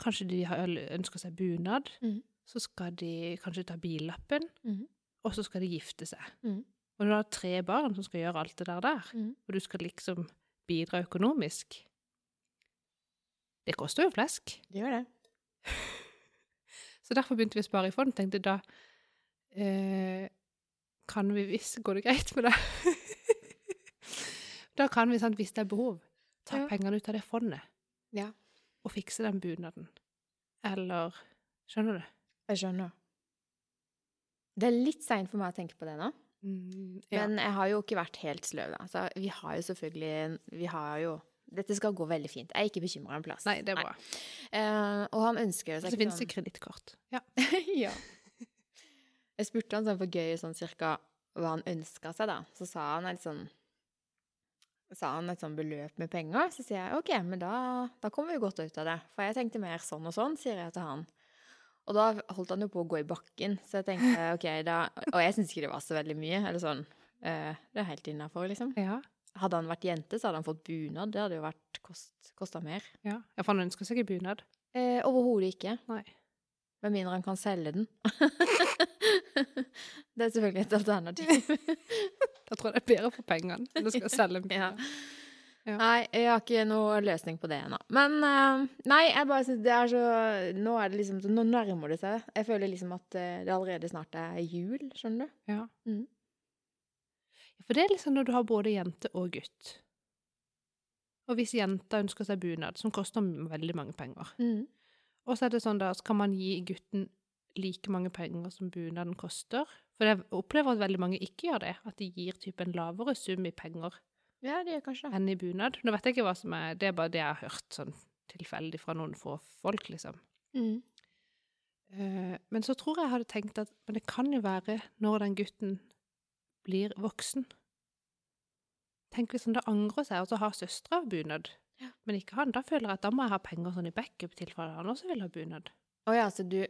[SPEAKER 1] Kanskje de har, ønsker seg bunad.
[SPEAKER 2] Mhm.
[SPEAKER 1] Så skal de kanskje ta billappen,
[SPEAKER 2] Mhm.
[SPEAKER 1] og så skal de gifte seg.
[SPEAKER 2] Mhm.
[SPEAKER 1] Og du har tre barn som skal gjøre alt det der der,
[SPEAKER 2] Mhm.
[SPEAKER 1] og du skal liksom bidra økonomisk. Det koster jo flesk.
[SPEAKER 2] Det gjør det.
[SPEAKER 1] Så derfor begynte vi å spare i fond. Tenkte da eh, kan vi hvis Går det greit med det? da kan vi, sant, hvis det er behov, ta
[SPEAKER 2] Ja.
[SPEAKER 1] pengene ut av det fondet
[SPEAKER 2] Ja.
[SPEAKER 1] og fikse den bunaden. Eller Skjønner du?
[SPEAKER 2] Jeg skjønner. Det er litt seint for meg å tenke på det nå,
[SPEAKER 1] ja.
[SPEAKER 2] Mm, men jeg har jo ikke vært helt sløv, da. Så vi har jo selvfølgelig Vi har jo Dette skal gå veldig fint. Jeg er ikke bekymra en plass.
[SPEAKER 1] Nei, det er bra.
[SPEAKER 2] Eh, og han ønsker
[SPEAKER 1] Og
[SPEAKER 2] seg
[SPEAKER 1] så finnes det kredittkort. Ja.
[SPEAKER 2] sånn. ja. Jeg spurte han sånn for gøy sånn cirka hva han ønska seg, da. Så sa han helt sånn sa han et sånn beløp med penger. Så sier jeg OK, men da, da kommer vi godt ut av det. For jeg tenkte mer sånn og sånn, sier jeg til han. Og da holdt han jo på å gå i bakken, så jeg tenkte OK, da Og jeg syns ikke det var så veldig mye, eller sånn. eh, det er helt innafor, liksom.
[SPEAKER 1] Ja.
[SPEAKER 2] Hadde han vært jente, så hadde han fått bunad. Det hadde jo vært kost, kosta mer.
[SPEAKER 1] ja. Ja, For han ønsker seg en bunad.
[SPEAKER 2] Eh, Overhodet ikke.
[SPEAKER 1] Nei.
[SPEAKER 2] Med mindre han kan selge den. det er selvfølgelig et alternativ.
[SPEAKER 1] Da tror jeg det er bedre for pengene enn å skal selge en
[SPEAKER 2] Ja.
[SPEAKER 1] bunad. Ja.
[SPEAKER 2] Nei, jeg har ikke noe løsning på det ennå. Men eh, nei, jeg bare synes det er så Nå er det liksom så- Nå nærmer det seg. Jeg føler liksom at eh, det allerede snart er jul, skjønner du.
[SPEAKER 1] Ja.
[SPEAKER 2] Mhm.
[SPEAKER 1] Ja, For det er liksom når du har både jente og gutt. Og hvis jenta ønsker seg bunad, som koster veldig mange penger,
[SPEAKER 2] Mm.
[SPEAKER 1] og så er det sånn da, så kan man gi gutten like mange penger som bunaden koster. For jeg opplever at veldig mange ikke gjør det. At de gir typ en lavere sum i penger
[SPEAKER 2] Ja, det gjør kanskje det.
[SPEAKER 1] enn i bunad. Nå vet jeg ikke hva som er Det er bare det jeg har hørt sånn tilfeldig fra noen få folk, liksom.
[SPEAKER 2] Mm.
[SPEAKER 1] Eh, Men så tror jeg jeg hadde tenkt at Men det kan jo være når den gutten blir voksen. Tenk hvis han da angrer seg, og så har søstera bunad, men ikke han. Da føler jeg at da må jeg ha penger sånn i backup til for at han også vil ha bunad.
[SPEAKER 2] Å ja, så du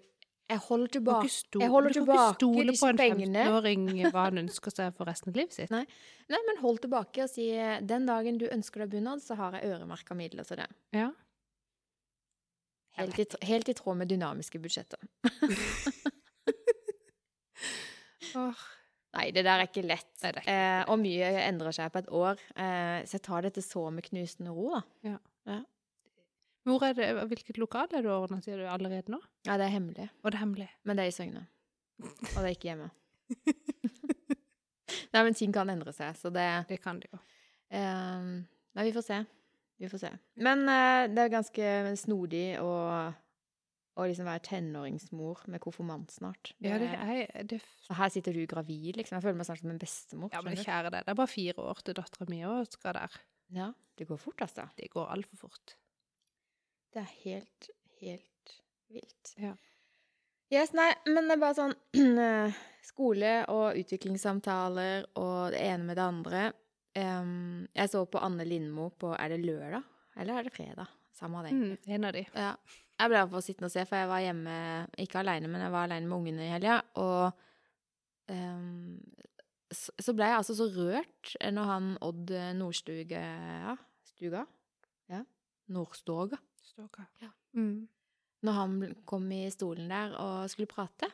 [SPEAKER 2] Jeg holder
[SPEAKER 1] Du kan
[SPEAKER 2] tilbake
[SPEAKER 1] ikke stole,
[SPEAKER 2] jeg holder
[SPEAKER 1] du kan ikke
[SPEAKER 2] tilbake
[SPEAKER 1] stole
[SPEAKER 2] disse
[SPEAKER 1] på en
[SPEAKER 2] pengene.
[SPEAKER 1] 15-åring hva han ønsker seg for resten av livet sitt.
[SPEAKER 2] Nei. Nei, men hold tilbake og si den dagen du ønsker deg bunad, så har jeg øremerka midler til det.
[SPEAKER 1] Ja. Jeg
[SPEAKER 2] Helt i, tr- helt i tråd med dynamiske budsjetter.
[SPEAKER 1] Åh,
[SPEAKER 2] Nei, det der er ikke lett.
[SPEAKER 1] Nei, det er ikke
[SPEAKER 2] Eh, og mye endrer seg på et år. Eh, så jeg tar dette så med knusende ro, da.
[SPEAKER 1] Hvor er det, hvilket lokal er du ordna, sier du allerede nå?
[SPEAKER 2] Ja, det er hemmelig.
[SPEAKER 1] Og det er hemmelig.
[SPEAKER 2] Men det er i Søgne. Og det er ikke hjemme. Nei, men ting kan endre seg, så det
[SPEAKER 1] Det kan det jo.
[SPEAKER 2] eh, Nei, vi får se. Vi får se. Men eh, det er ganske snodig å, å liksom være tenåringsmor med konfirmant snart.
[SPEAKER 1] Ja, det er, det,
[SPEAKER 2] Så her sitter du gravid, liksom. Jeg føler meg snart som en bestemor.
[SPEAKER 1] ja, men
[SPEAKER 2] skjønner du?
[SPEAKER 1] kjære deg, det er bare fire år til dattera mi òg skal der.
[SPEAKER 2] ja, det går fort, altså.
[SPEAKER 1] Det går altfor fort.
[SPEAKER 2] Det er helt, helt vilt.
[SPEAKER 1] Ja.
[SPEAKER 2] Yes, nei, men det er bare sånn eh, Skole og utviklingssamtaler og det ene med det andre. Em, jeg så på Anne Lindmo på Er det lørdag? Eller er det fredag? Samme det.
[SPEAKER 1] Mm, en av de.
[SPEAKER 2] Ja. Jeg ble iallfall sittende og se, for jeg var hjemme ikke alene, men jeg var alene med ungene i helga. Og ehm, så, så ble jeg altså så rørt eh, når han Odd Nordstuga ja, Stuga? Ja. Nordstoga.
[SPEAKER 1] Stalker.
[SPEAKER 2] Ja.
[SPEAKER 1] Mm.
[SPEAKER 2] Når han bl- kom i stolen der og skulle prate.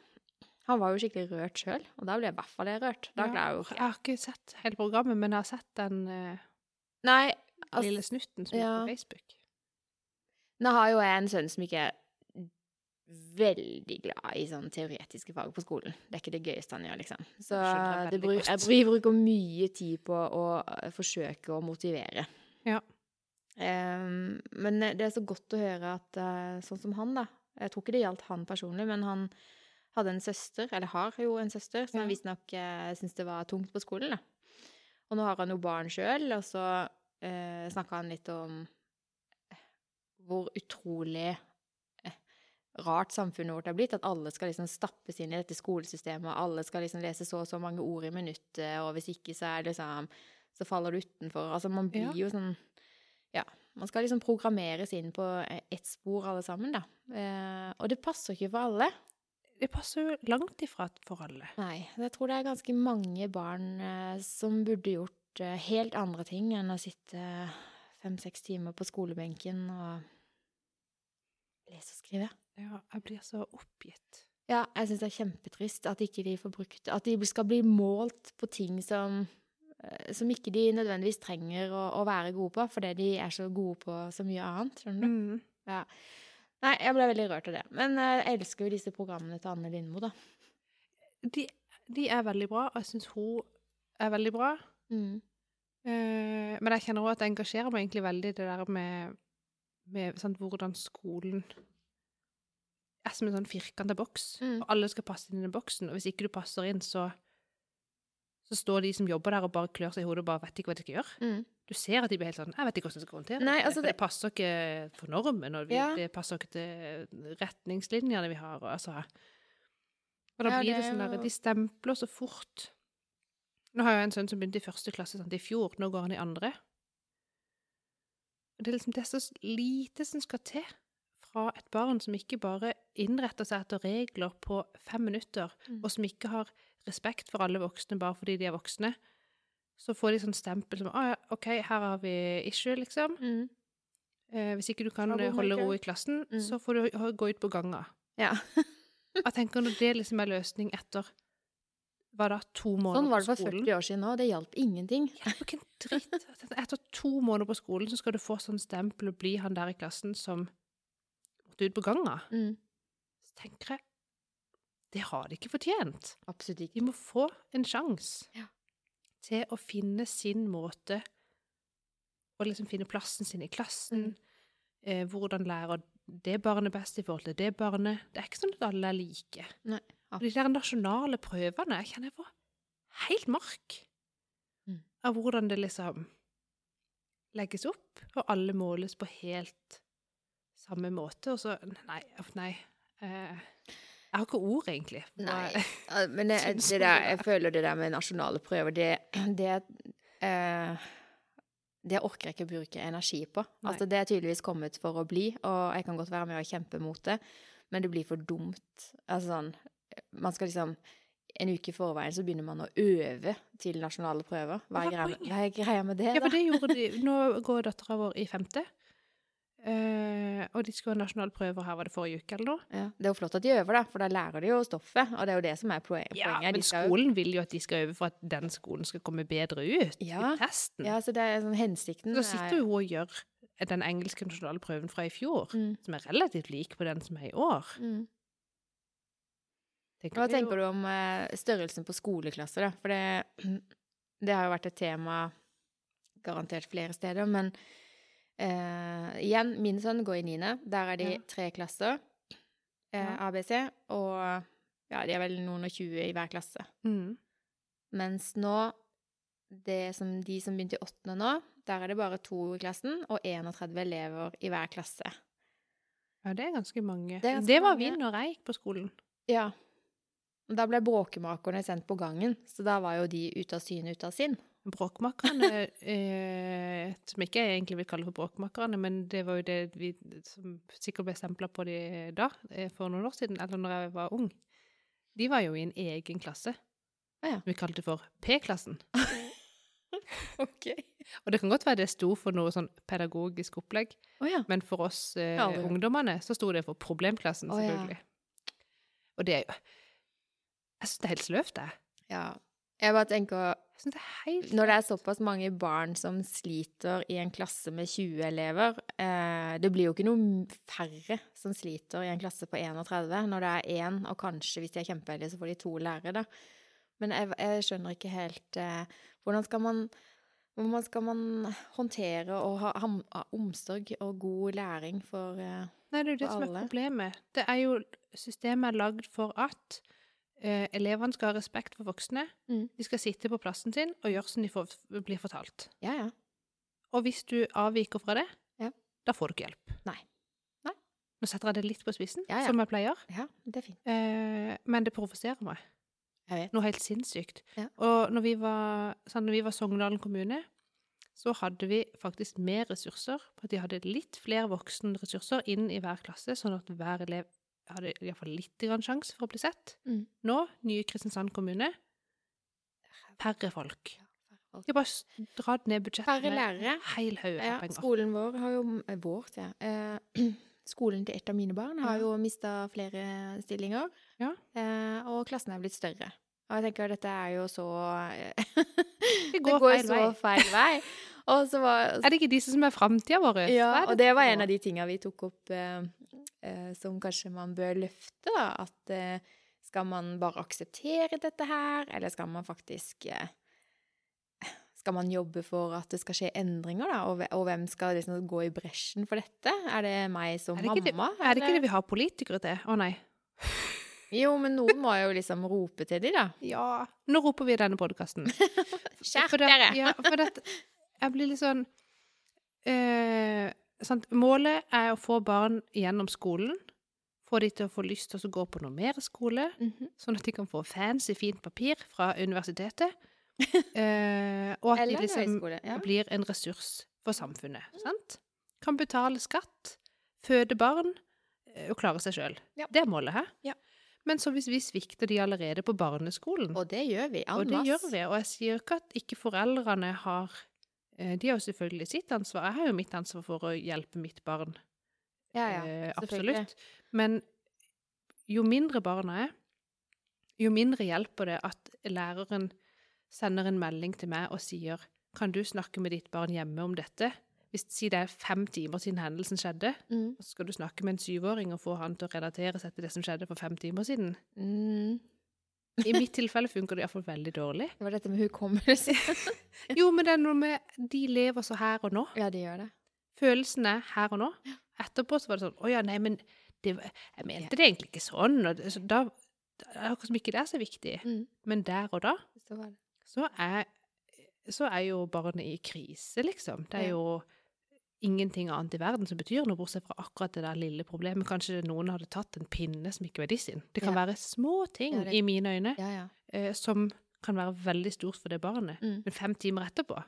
[SPEAKER 2] Han var jo skikkelig rørt sjøl, og da ble jeg i hvert fall jeg rørt. Da
[SPEAKER 1] Ja.
[SPEAKER 2] klarer jeg jo
[SPEAKER 1] Jeg
[SPEAKER 2] ikke
[SPEAKER 1] har ikke sett hele programmet, men jeg har sett den eh,
[SPEAKER 2] Nei, altså,
[SPEAKER 1] lille snutten som er
[SPEAKER 2] ja.
[SPEAKER 1] på Facebook.
[SPEAKER 2] Nå har jo jeg en sønn som ikke er veldig glad i sånne teoretiske fag på skolen. Det er ikke det gøyeste han gjør, liksom. Så
[SPEAKER 1] skjønner jeg
[SPEAKER 2] det
[SPEAKER 1] veldig
[SPEAKER 2] bru-
[SPEAKER 1] godt.
[SPEAKER 2] jeg, bru- jeg bruker mye tid på å eh, forsøke å motivere.
[SPEAKER 1] Ja.
[SPEAKER 2] Em, men eh, det er så godt å høre at eh, sånn som han, da Jeg tror ikke det gjaldt han personlig, men han hadde en søster, eller har jo en søster, som
[SPEAKER 1] Ja.
[SPEAKER 2] visstnok eh, syntes det var tungt på skolen, da. Og nå har han jo barn sjøl, og så eh, snakka han litt om hvor utrolig eh, rart samfunnet vårt er blitt. At alle skal liksom stappes inn i dette skolesystemet, og alle skal liksom lese så og så mange ord i minuttet, og hvis ikke så er det liksom Så faller du utenfor. Altså, man blir
[SPEAKER 1] Ja.
[SPEAKER 2] jo sånn Ja. Man skal liksom programmeres inn på eh, ett spor, alle sammen, da. Eh, og det passer ikke for alle.
[SPEAKER 1] Det passer jo langt ifra for alle.
[SPEAKER 2] Nei. Jeg tror det er ganske mange barn eh, som burde gjort eh, helt andre ting enn å sitte fem-seks timer på skolebenken og lese og skrive.
[SPEAKER 1] Ja, jeg blir så oppgitt.
[SPEAKER 2] Ja, jeg syns det er kjempetrist at ikke de får brukt At de skal bli målt på ting som eh, som ikke de nødvendigvis trenger å, å være gode på, fordi de er så gode på så mye annet. skjønner du?
[SPEAKER 1] Mm.
[SPEAKER 2] Nei, jeg ble veldig rørt av det. Men eh, jeg elsker jo disse programmene til Anne Lindmo, da.
[SPEAKER 1] De, de er veldig bra, og jeg syns hun er veldig bra.
[SPEAKER 2] Mm.
[SPEAKER 1] Eh, men jeg kjenner òg at jeg engasjerer meg egentlig veldig i det der med, med sant, hvordan skolen er som en sånn firkanta boks,
[SPEAKER 2] Mm.
[SPEAKER 1] og alle skal passe inn i den boksen. Og hvis ikke du passer inn, så, så står de som jobber der og bare klør seg i hodet og bare vet ikke hva de skal gjøre.
[SPEAKER 2] Mm.
[SPEAKER 1] Du ser at de blir helt sånn 'Jeg vet ikke hvordan jeg skal håndtere
[SPEAKER 2] Nei,
[SPEAKER 1] det, for
[SPEAKER 2] altså det-
[SPEAKER 1] det passer ikke for normen, og vi,
[SPEAKER 2] Ja.
[SPEAKER 1] det passer ikke til retningslinjene vi har, og altså Og da
[SPEAKER 2] Ja,
[SPEAKER 1] blir
[SPEAKER 2] det
[SPEAKER 1] det,
[SPEAKER 2] er
[SPEAKER 1] sånn
[SPEAKER 2] jo-
[SPEAKER 1] der De stempler så fort. Nå har jeg en sønn som begynte i første klasse sant, i fjor. Nå går han i andre. Og det er liksom det er så lite som skal til fra et barn som ikke bare innretter seg etter regler på fem minutter,
[SPEAKER 2] Mm.
[SPEAKER 1] og som ikke har respekt for alle voksne bare fordi de er voksne. Så får de sånn stempel som ah, ja, 'OK, her har vi issue', liksom.
[SPEAKER 2] Mm.
[SPEAKER 1] Eh, hvis ikke du kan
[SPEAKER 2] Trouble
[SPEAKER 1] eh, holde ro
[SPEAKER 2] maker.
[SPEAKER 1] i klassen,
[SPEAKER 2] Mm.
[SPEAKER 1] så får du h- gå ut på ganga.
[SPEAKER 2] Ja.
[SPEAKER 1] Jeg tenker når det liksom er løsning etter hva da, to måneder
[SPEAKER 2] Sånn var det
[SPEAKER 1] på
[SPEAKER 2] for
[SPEAKER 1] skolen?
[SPEAKER 2] 40 år siden òg. Det hjalp ingenting.
[SPEAKER 1] Hjelper ikke en dritt. Jeg tenkte, Etter to måneder på skolen så skal du få sånn stempel og bli han der i klassen som måtte ut på ganga.
[SPEAKER 2] Mm.
[SPEAKER 1] Så tenker jeg det har de ikke fortjent.
[SPEAKER 2] Absolutt
[SPEAKER 1] De
[SPEAKER 2] ikke.
[SPEAKER 1] må få en sjanse
[SPEAKER 2] Ja.
[SPEAKER 1] til å finne sin måte å liksom finne plassen sin i klassen.
[SPEAKER 2] Mm.
[SPEAKER 1] Eh, hvordan lærer det barnet best i forhold til det barnet? Det er ikke sånn at alle er like.
[SPEAKER 2] Nei,
[SPEAKER 1] Og de der nasjonale prøvene Jeg kjenner jeg får helt mark
[SPEAKER 2] Mm.
[SPEAKER 1] av hvordan det liksom legges opp, og alle måles på helt samme måte. Og så Nei, uff, nei. Eh, jeg har ikke ord, egentlig. for
[SPEAKER 2] Nei,
[SPEAKER 1] hva-
[SPEAKER 2] eh, men det,
[SPEAKER 1] Syns
[SPEAKER 2] det
[SPEAKER 1] man
[SPEAKER 2] der,
[SPEAKER 1] det?
[SPEAKER 2] jeg føler det der med nasjonale prøver, det, det, eh, det orker jeg ikke å bruke energi på.
[SPEAKER 1] Nei.
[SPEAKER 2] Altså, det er tydeligvis kommet for å bli, og jeg kan godt være med og kjempe mot det, men det blir for dumt. Altså sånn, man skal liksom, en uke i forveien så begynner man å øve til nasjonale prøver. Hva
[SPEAKER 1] Hva er
[SPEAKER 2] er greia med,
[SPEAKER 1] poenget?
[SPEAKER 2] hva er greia med det
[SPEAKER 1] Ja,
[SPEAKER 2] da?
[SPEAKER 1] for det gjorde de. Nå går dattera vår i femte. Eh, og de skulle ha nasjonale prøver her, var det forrige uke eller noe?
[SPEAKER 2] Ja, det er jo flott at de øver da, for da lærer de jo stoffet, og det er jo det som er poe- poenget.
[SPEAKER 1] Ja,
[SPEAKER 2] De
[SPEAKER 1] men
[SPEAKER 2] skal jo-
[SPEAKER 1] skolen vil jo at de skal øve for at den skolen skal komme bedre ut
[SPEAKER 2] Ja,
[SPEAKER 1] i testen.
[SPEAKER 2] Ja, så det er sånn hensikten.
[SPEAKER 1] Så da
[SPEAKER 2] er-
[SPEAKER 1] sitter jo hun og gjør den engelske nasjonale prøven fra i fjor,
[SPEAKER 2] Mm.
[SPEAKER 1] som er relativt lik på den som er i år.
[SPEAKER 2] Mm.
[SPEAKER 1] Tenker
[SPEAKER 2] Hva
[SPEAKER 1] vi
[SPEAKER 2] tenker
[SPEAKER 1] jo-
[SPEAKER 2] du om eh, størrelsen på skoleklasser, da? For det, det har jo vært et tema garantert flere steder, men eh, igjen, min sønn går i niende. Der er de
[SPEAKER 1] Ja.
[SPEAKER 2] tre klasser, eh,
[SPEAKER 1] Ja.
[SPEAKER 2] ABC, og ja, de er vel noen og tjue i hver klasse.
[SPEAKER 1] Mm.
[SPEAKER 2] Mens nå, det som, de som begynte i åttende nå, der er det bare to i klassen, og 31 elever i hver klasse.
[SPEAKER 1] Ja, det er ganske mange.
[SPEAKER 2] Det
[SPEAKER 1] Det,
[SPEAKER 2] er ganske
[SPEAKER 1] var
[SPEAKER 2] mange.
[SPEAKER 1] vi når jeg gikk på skolen.
[SPEAKER 2] Ja. Og Da ble bråkemakerne sendt på gangen, så da var jo de ute av syne, ute av sinn.
[SPEAKER 1] Bråkmakerne, eh, som ikke jeg egentlig vil kalle for bråkmakerne, men det var jo det vi som sikkert ble stempla på de da, eh, for noen år siden, eller når jeg var ung, de var jo i en egen klasse.
[SPEAKER 2] Å ja.
[SPEAKER 1] Som vi kalte for P-klassen.
[SPEAKER 2] Ok.
[SPEAKER 1] Og det kan godt være det sto for noe sånn pedagogisk opplegg,
[SPEAKER 2] Å ja.
[SPEAKER 1] Men for oss eh,
[SPEAKER 2] Aldri hørt.
[SPEAKER 1] ungdommene så sto det for problemklassen,
[SPEAKER 2] Å, ja.
[SPEAKER 1] selvfølgelig. Og det er jo Jeg syns det er helt sløvt, jeg.
[SPEAKER 2] Ja. Jeg bare tenker,
[SPEAKER 1] Jeg synes det er helt
[SPEAKER 2] Når det er såpass mange barn som sliter i en klasse med 20 elever eh, Det blir jo ikke noe færre som sliter i en klasse på 31 når det er én, og kanskje, hvis de er kjempeheldige, så får de to lærere. Da. Men jeg, jeg skjønner ikke helt eh, Hvordan skal man hvordan skal man håndtere og ha, ham- ha omsorg og god læring for eh,
[SPEAKER 1] Nei, det er jo det
[SPEAKER 2] for
[SPEAKER 1] som er
[SPEAKER 2] alle.
[SPEAKER 1] problemet. Det er jo Systemet er lagd for at eh, elevene skal ha respekt for voksne.
[SPEAKER 2] Mm.
[SPEAKER 1] De skal sitte på plassen sin og gjøre som de får, blir fortalt.
[SPEAKER 2] Ja, ja.
[SPEAKER 1] Og hvis du avviker fra det,
[SPEAKER 2] Ja.
[SPEAKER 1] da får du ikke hjelp.
[SPEAKER 2] Nei. Nei.
[SPEAKER 1] Nå setter jeg det litt på spissen,
[SPEAKER 2] Ja, ja.
[SPEAKER 1] som jeg pleier,
[SPEAKER 2] Ja, det er fint.
[SPEAKER 1] eh, men det provoserer meg.
[SPEAKER 2] Jeg vet.
[SPEAKER 1] Noe helt sinnssykt.
[SPEAKER 2] Ja.
[SPEAKER 1] Og når vi var, sånn, når vi var Sogndalen kommune, så hadde vi faktisk mer ressurser, for de hadde litt flere voksenressurser inn i hver klasse, sånn at hver elev hadde iallfall litt grann sjanse for å bli sett.
[SPEAKER 2] Mm.
[SPEAKER 1] Nå, nye Kristiansand kommune, færre folk. De har bare s- dratt ned budsjettet
[SPEAKER 2] Færre lærere.
[SPEAKER 1] heil haug
[SPEAKER 2] Ja,
[SPEAKER 1] av penger.
[SPEAKER 2] skolen vår har jo eh, Vår, sier jeg. Eh, skolen til et av mine barn har
[SPEAKER 1] Ja.
[SPEAKER 2] jo mista flere stillinger.
[SPEAKER 1] Ja.
[SPEAKER 2] Eh, og klassen er blitt større. Og jeg tenker dette er jo så eh,
[SPEAKER 1] Det
[SPEAKER 2] Det
[SPEAKER 1] går
[SPEAKER 2] går
[SPEAKER 1] feil
[SPEAKER 2] så
[SPEAKER 1] vei.
[SPEAKER 2] feil vei. Og så var
[SPEAKER 1] Er det ikke disse som er framtida vår? Hva
[SPEAKER 2] ja,
[SPEAKER 1] er
[SPEAKER 2] og det var
[SPEAKER 1] for
[SPEAKER 2] en
[SPEAKER 1] noe?
[SPEAKER 2] av de tinga vi tok opp eh, eh, som kanskje man bør løfte, da. At eh, skal man bare akseptere dette her, eller skal man faktisk eh, Skal man jobbe for at det skal skje endringer, da? Og, hve- og hvem skal liksom gå i bresjen for dette? Er det meg som
[SPEAKER 1] Er det ikke det-
[SPEAKER 2] mamma?
[SPEAKER 1] Er det ikke
[SPEAKER 2] eller?
[SPEAKER 1] det vi har politikere til? Å nei.
[SPEAKER 2] Jo, men noen må jo liksom rope til de, da.
[SPEAKER 1] Ja. Nå roper vi i denne podkasten.
[SPEAKER 2] Skjerp
[SPEAKER 1] For det-
[SPEAKER 2] dere!
[SPEAKER 1] Ja, for det, jeg blir litt sånn eh, sant? Målet er å få barn gjennom skolen. Få de til å få lyst til å gå på noe mer skole,
[SPEAKER 2] Mhm.
[SPEAKER 1] sånn at de kan få fancy, fint papir fra universitetet. Eh, og at de
[SPEAKER 2] Eller
[SPEAKER 1] liksom
[SPEAKER 2] høyskole. Ja.
[SPEAKER 1] blir en ressurs for samfunnet. sant? Kan betale skatt, føde barn eh, og klare seg sjøl.
[SPEAKER 2] Ja.
[SPEAKER 1] Det er målet her.
[SPEAKER 2] Ja.
[SPEAKER 1] Men så hvis vi svikter de allerede på barneskolen,
[SPEAKER 2] Og det gjør vi.
[SPEAKER 1] og det gjør vi. Og jeg sier ikke at ikke foreldrene har eh, De har jo selvfølgelig sitt ansvar. Jeg har jo mitt ansvar for å hjelpe mitt barn.
[SPEAKER 2] Ja, ja.
[SPEAKER 1] Eh,
[SPEAKER 2] selvfølgelig.
[SPEAKER 1] absolutt. Men jo mindre barna er, jo mindre hjelper det at læreren sender en melding til meg og sier kan du snakke med ditt barn hjemme om dette? Hvis si det er fem timer siden hendelsen skjedde,
[SPEAKER 2] Mm.
[SPEAKER 1] og så skal du snakke med en syvåring og få han til å relatere seg til det som skjedde for fem timer siden.
[SPEAKER 2] Mm.
[SPEAKER 1] I mitt tilfelle funker det iallfall veldig dårlig.
[SPEAKER 2] Det var dette med hukommelse.
[SPEAKER 1] Jo, men det er noe med De lever så her og nå.
[SPEAKER 2] ja, det gjør det.
[SPEAKER 1] Følelsen er her og nå. Etterpå så var det sånn Å ja, nei, men det, var- jeg mente det egentlig ikke sånn. Og det, så da, da er det akkurat som ikke det er så viktig.
[SPEAKER 2] Mm.
[SPEAKER 1] Men der og da,
[SPEAKER 2] Så var det.
[SPEAKER 1] så er, så er jo barnet i krise, liksom. Det er
[SPEAKER 2] Ja.
[SPEAKER 1] jo ingenting annet i verden som betyr noe, bortsett fra akkurat det der lille problemet. Kanskje noen hadde tatt en pinne som ikke var de sin. Det kan
[SPEAKER 2] Ja.
[SPEAKER 1] være små ting,
[SPEAKER 2] Ja, det-
[SPEAKER 1] i mine øyne,
[SPEAKER 2] Ja, ja.
[SPEAKER 1] eh, som kan være veldig stort for det barnet.
[SPEAKER 2] Mm.
[SPEAKER 1] Men fem timer etterpå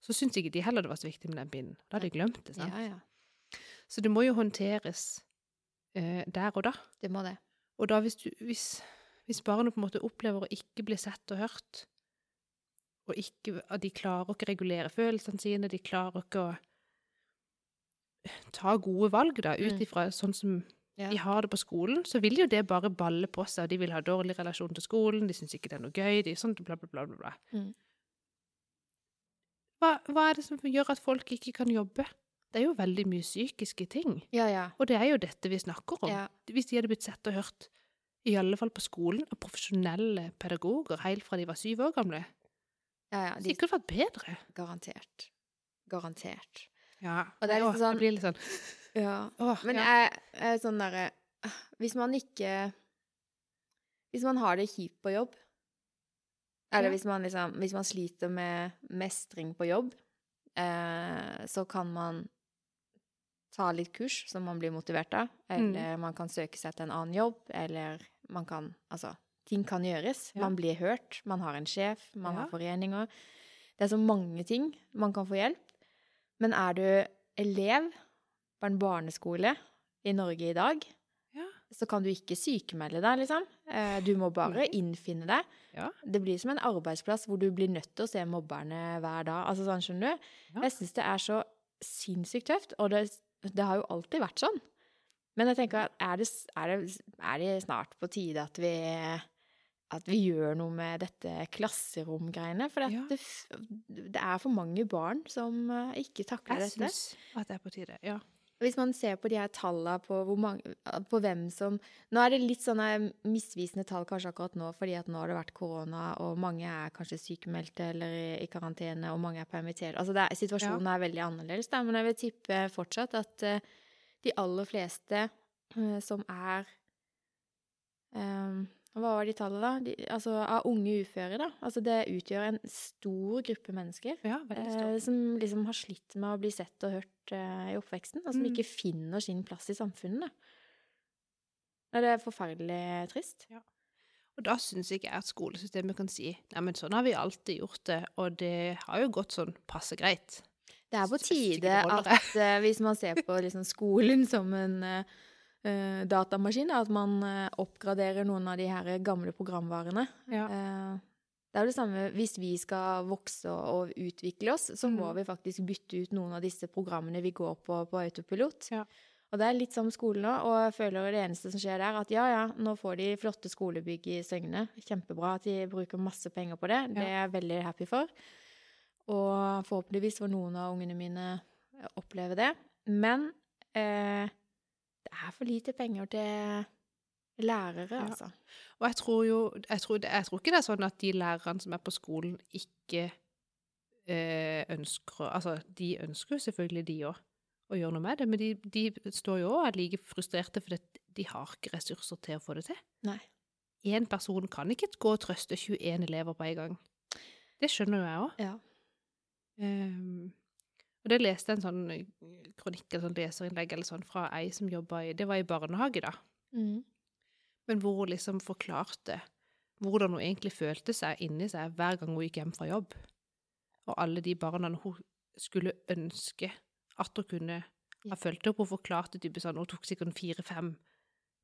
[SPEAKER 1] så syns ikke de heller det var så viktig med den pinnen. Da hadde de glemt det. sant?
[SPEAKER 2] ja, ja.
[SPEAKER 1] Så det må jo håndteres eh, der og da.
[SPEAKER 2] Det må det.
[SPEAKER 1] Og da hvis, du, hvis, hvis barnet på en måte opplever å ikke bli sett og hørt, og ikke, at de klarer ikke å regulere følelsene sine, de klarer ikke å ta gode valg da, ut
[SPEAKER 2] Mm.
[SPEAKER 1] ifra sånn som
[SPEAKER 2] Ja.
[SPEAKER 1] de har det på skolen, så vil jo det bare balle på seg, og de vil ha dårlig relasjon til skolen, de syns ikke det er noe gøy, de er sånn bla, bla, bla, bla. bla.
[SPEAKER 2] Mm.
[SPEAKER 1] Hva, hva er det som gjør at folk ikke kan jobbe? Det er jo veldig mye psykiske ting.
[SPEAKER 2] Ja, ja.
[SPEAKER 1] Og det er jo dette vi snakker om.
[SPEAKER 2] Ja.
[SPEAKER 1] Hvis de hadde blitt sett og hørt, i alle fall på skolen, av profesjonelle pedagoger helt fra de var syv år gamle,
[SPEAKER 2] ja, ja.
[SPEAKER 1] så
[SPEAKER 2] De,
[SPEAKER 1] det kunne vært bedre.
[SPEAKER 2] garantert. Garantert.
[SPEAKER 1] Ja.
[SPEAKER 2] Og det er
[SPEAKER 1] Åh,
[SPEAKER 2] liksom sånn-
[SPEAKER 1] det blir litt sånn
[SPEAKER 2] Ja.
[SPEAKER 1] åh,
[SPEAKER 2] Men
[SPEAKER 1] ja.
[SPEAKER 2] jeg, jeg er sånn derre Hvis man ikke Hvis man har det kjipt på jobb,
[SPEAKER 1] Ja.
[SPEAKER 2] eller hvis, man liksom, hvis man sliter med mestring på jobb, eh, så kan man ta litt kurs som man blir motivert av,
[SPEAKER 1] Mm.
[SPEAKER 2] eller man kan søke seg til en annen jobb, eller man kan Altså, ting kan gjøres.
[SPEAKER 1] Ja.
[SPEAKER 2] Man blir hørt, man har en sjef, man
[SPEAKER 1] Ja.
[SPEAKER 2] har foreninger. Det er så mange ting man kan få hjelp. Men er du elev på en barneskole i Norge i dag,
[SPEAKER 1] Ja.
[SPEAKER 2] så kan du ikke sykemelde deg, liksom. Eh, Du må bare
[SPEAKER 1] Nei.
[SPEAKER 2] innfinne deg.
[SPEAKER 1] Ja.
[SPEAKER 2] Det blir som en arbeidsplass hvor du blir nødt til å se mobberne hver dag. Altså sånn, skjønner du?
[SPEAKER 1] Ja.
[SPEAKER 2] Jeg syns det er så sinnssykt tøft, og det, det har jo alltid vært sånn. Men jeg tenker at er det, er det, er det snart på tide at vi at vi gjør noe med dette klasseromgreiene. For at
[SPEAKER 1] Ja.
[SPEAKER 2] det, f- det er for mange barn som eh, ikke takler
[SPEAKER 1] Jeg
[SPEAKER 2] dette.
[SPEAKER 1] syns at det er på tide. Ja.
[SPEAKER 2] Hvis man ser på de her tallene på, hvor mange, på hvem som Nå er det litt sånne misvisende tall kanskje akkurat nå, fordi at nå har det vært korona, og mange er kanskje sykemeldte eller i, i karantene, og mange er permittert. Altså det er, situasjonen er veldig annerledes, da, men jeg vil tippe fortsatt at eh, de aller fleste eh, som er eh, Hva var de tallene, da? De, altså av unge uføre, da. Altså det utgjør en stor gruppe mennesker.
[SPEAKER 1] ja, veldig
[SPEAKER 2] Eh,
[SPEAKER 1] stort.
[SPEAKER 2] som liksom har slitt med å bli sett og hørt eh, i oppveksten, og som
[SPEAKER 1] Mm.
[SPEAKER 2] ikke finner sin plass i samfunnet. da. Nei, det er forferdelig trist.
[SPEAKER 1] Og da syns ikke jeg at skolesystemet kan si Nei, men sånn har vi alltid gjort det, og det har jo gått sånn passe greit.
[SPEAKER 2] Det er på
[SPEAKER 1] Synes ikke det
[SPEAKER 2] tide
[SPEAKER 1] holder,
[SPEAKER 2] at eh, hvis man ser på liksom, skolen som en eh, eh, datamaskin, da, at man eh, oppgraderer noen av de her gamle programvarene.
[SPEAKER 1] Ja.
[SPEAKER 2] Eh, det er jo det samme hvis vi skal vokse og og utvikle oss, så må
[SPEAKER 1] Mm.
[SPEAKER 2] vi faktisk bytte ut noen av disse programmene vi går på på autopilot.
[SPEAKER 1] Ja.
[SPEAKER 2] Og det er litt som skolen nå, og jeg føler det eneste som skjer der, at ja, ja, nå får de flotte skolebygg i Søgne. Kjempebra at de bruker masse penger på det. Det er jeg veldig happy for. Og forhåpentligvis får noen av ungene mine eh, oppleve det. Men eh, det er for lite penger til lærere,
[SPEAKER 1] Ja.
[SPEAKER 2] altså.
[SPEAKER 1] Og jeg tror jo jeg tror, jeg tror ikke det er sånn at de lærerne som er på skolen, ikke eh, ønsker å- Altså, de ønsker jo selvfølgelig, de òg, å gjøre noe med det, men de, de står jo òg og er like frustrerte, for de har ikke ressurser til å få det til.
[SPEAKER 2] Nei.
[SPEAKER 1] Én person kan ikke gå og trøste 21 elever på en gang. Det skjønner jo jeg òg.
[SPEAKER 2] Ja.
[SPEAKER 1] Ehm, og det leste jeg en sånn kronikk eller sånn leserinnlegg eller sånn fra ei som jobba i Det var i barnehage, da
[SPEAKER 2] Mm.
[SPEAKER 1] men hvor hun liksom forklarte hvordan hun egentlig følte seg inni seg hver gang hun gikk hjem fra jobb. Og alle de barna hun skulle ønske at hun kunne
[SPEAKER 2] Ja.
[SPEAKER 1] Jeg følte opp og forklarte typisk sånn, og tok sikkert fire-fem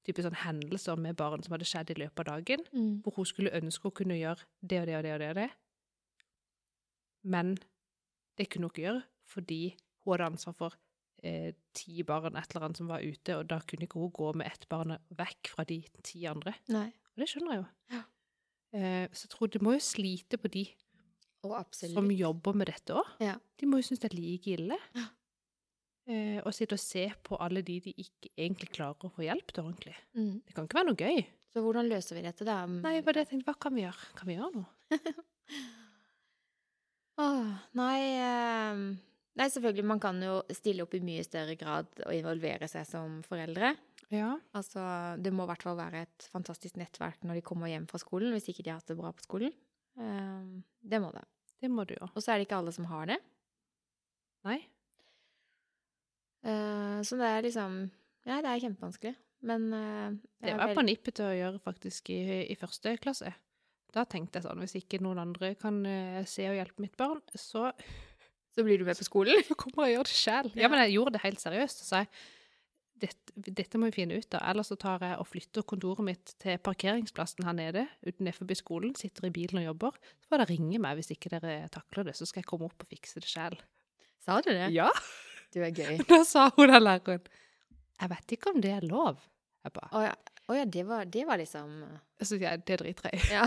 [SPEAKER 1] typisk sånn hendelser med barn som hadde skjedd i løpet av dagen,
[SPEAKER 2] Mm.
[SPEAKER 1] hvor hun skulle ønske å kunne gjøre det og det og det og det. Og det. Men det kunne hun ikke gjøre, fordi hun hadde ansvar for eh, ti barn, et eller annet som var ute, og da kunne ikke hun gå med ett barn vekk fra de ti andre.
[SPEAKER 2] Nei.
[SPEAKER 1] Og det skjønner jeg jo.
[SPEAKER 2] Ja.
[SPEAKER 1] Eh, så jeg tror det må jo slite på de
[SPEAKER 2] Og
[SPEAKER 1] som jobber med dette òg.
[SPEAKER 2] Ja.
[SPEAKER 1] De må jo synes det er like ille.
[SPEAKER 2] Ja.
[SPEAKER 1] Eh, og sitte og se på alle de de ikke egentlig klarer å få hjelp til ordentlig.
[SPEAKER 2] Mm.
[SPEAKER 1] Det kan ikke være noe gøy.
[SPEAKER 2] Så hvordan løser vi dette, da?
[SPEAKER 1] Nei, det var det jeg tenkte, hva kan vi gjøre? Kan vi gjøre noe?
[SPEAKER 2] Åh, nei, eh, nei, selvfølgelig. Man kan jo stille opp i mye større grad og involvere seg som foreldre.
[SPEAKER 1] Ja.
[SPEAKER 2] Altså, det må i hvert fall være et fantastisk nettverk når de kommer hjem fra skolen, hvis ikke de har hatt det bra på skolen. Eh, det må det.
[SPEAKER 1] Det må du jo.
[SPEAKER 2] Og så er det ikke alle som har det.
[SPEAKER 1] Nei.
[SPEAKER 2] Eh, så det er liksom Nei, det er kjempevanskelig. Men eh, jeg
[SPEAKER 1] Det
[SPEAKER 2] er
[SPEAKER 1] var jeg på
[SPEAKER 2] vel-
[SPEAKER 1] nippet til å gjøre faktisk i, i første klasse. Da tenkte jeg sånn, hvis ikke noen andre kan eh, se og hjelpe mitt barn, så
[SPEAKER 2] Så blir du med på skolen?
[SPEAKER 1] så kommer jeg og gjør det sjøl.
[SPEAKER 2] Ja.
[SPEAKER 1] Ja, men jeg gjorde det helt seriøst. Så sa jeg dette, dette må vi finne ut av, ellers så tar jeg og flytter kontoret mitt til parkeringsplassen her nede, utenfor skolen, sitter i bilen og jobber. Så får dere ringe meg hvis ikke dere takler det, så skal jeg komme opp og fikse det sjøl.
[SPEAKER 2] Sa du det?
[SPEAKER 1] Ja,
[SPEAKER 2] Du er gøy.
[SPEAKER 1] da sa hun den læreren. Jeg vet ikke om det er lov. Jeg bare,
[SPEAKER 2] Å ja. Å ja, det var, det var liksom
[SPEAKER 1] så sier jeg, det driter jeg i.
[SPEAKER 2] Ja.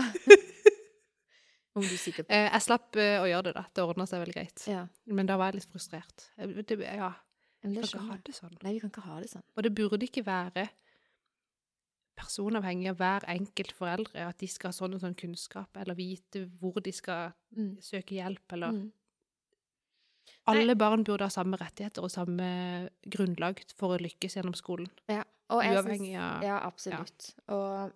[SPEAKER 2] Om du sitter på
[SPEAKER 1] Eh, Jeg slapp eh, å gjøre det, da. Det ordna seg veldig greit.
[SPEAKER 2] Ja.
[SPEAKER 1] Men da var jeg litt frustrert. Jeg- Det, ja,
[SPEAKER 2] Men det
[SPEAKER 1] jeg kan ikke
[SPEAKER 2] skjønner
[SPEAKER 1] ha
[SPEAKER 2] jeg.
[SPEAKER 1] det sånn.
[SPEAKER 2] Nei, vi kan ikke ha det sånn.
[SPEAKER 1] Og det burde ikke være personavhengig av hver enkelt foreldre, at de skal ha sånn og sånn kunnskap, eller vite hvor de skal
[SPEAKER 2] Mm.
[SPEAKER 1] søke hjelp, eller
[SPEAKER 2] Mm.
[SPEAKER 1] Alle barn burde ha samme rettigheter og samme grunnlag for å lykkes gjennom skolen.
[SPEAKER 2] Ja. Og jeg
[SPEAKER 1] Uavhengig
[SPEAKER 2] syns-
[SPEAKER 1] av
[SPEAKER 2] Ja, absolutt. Og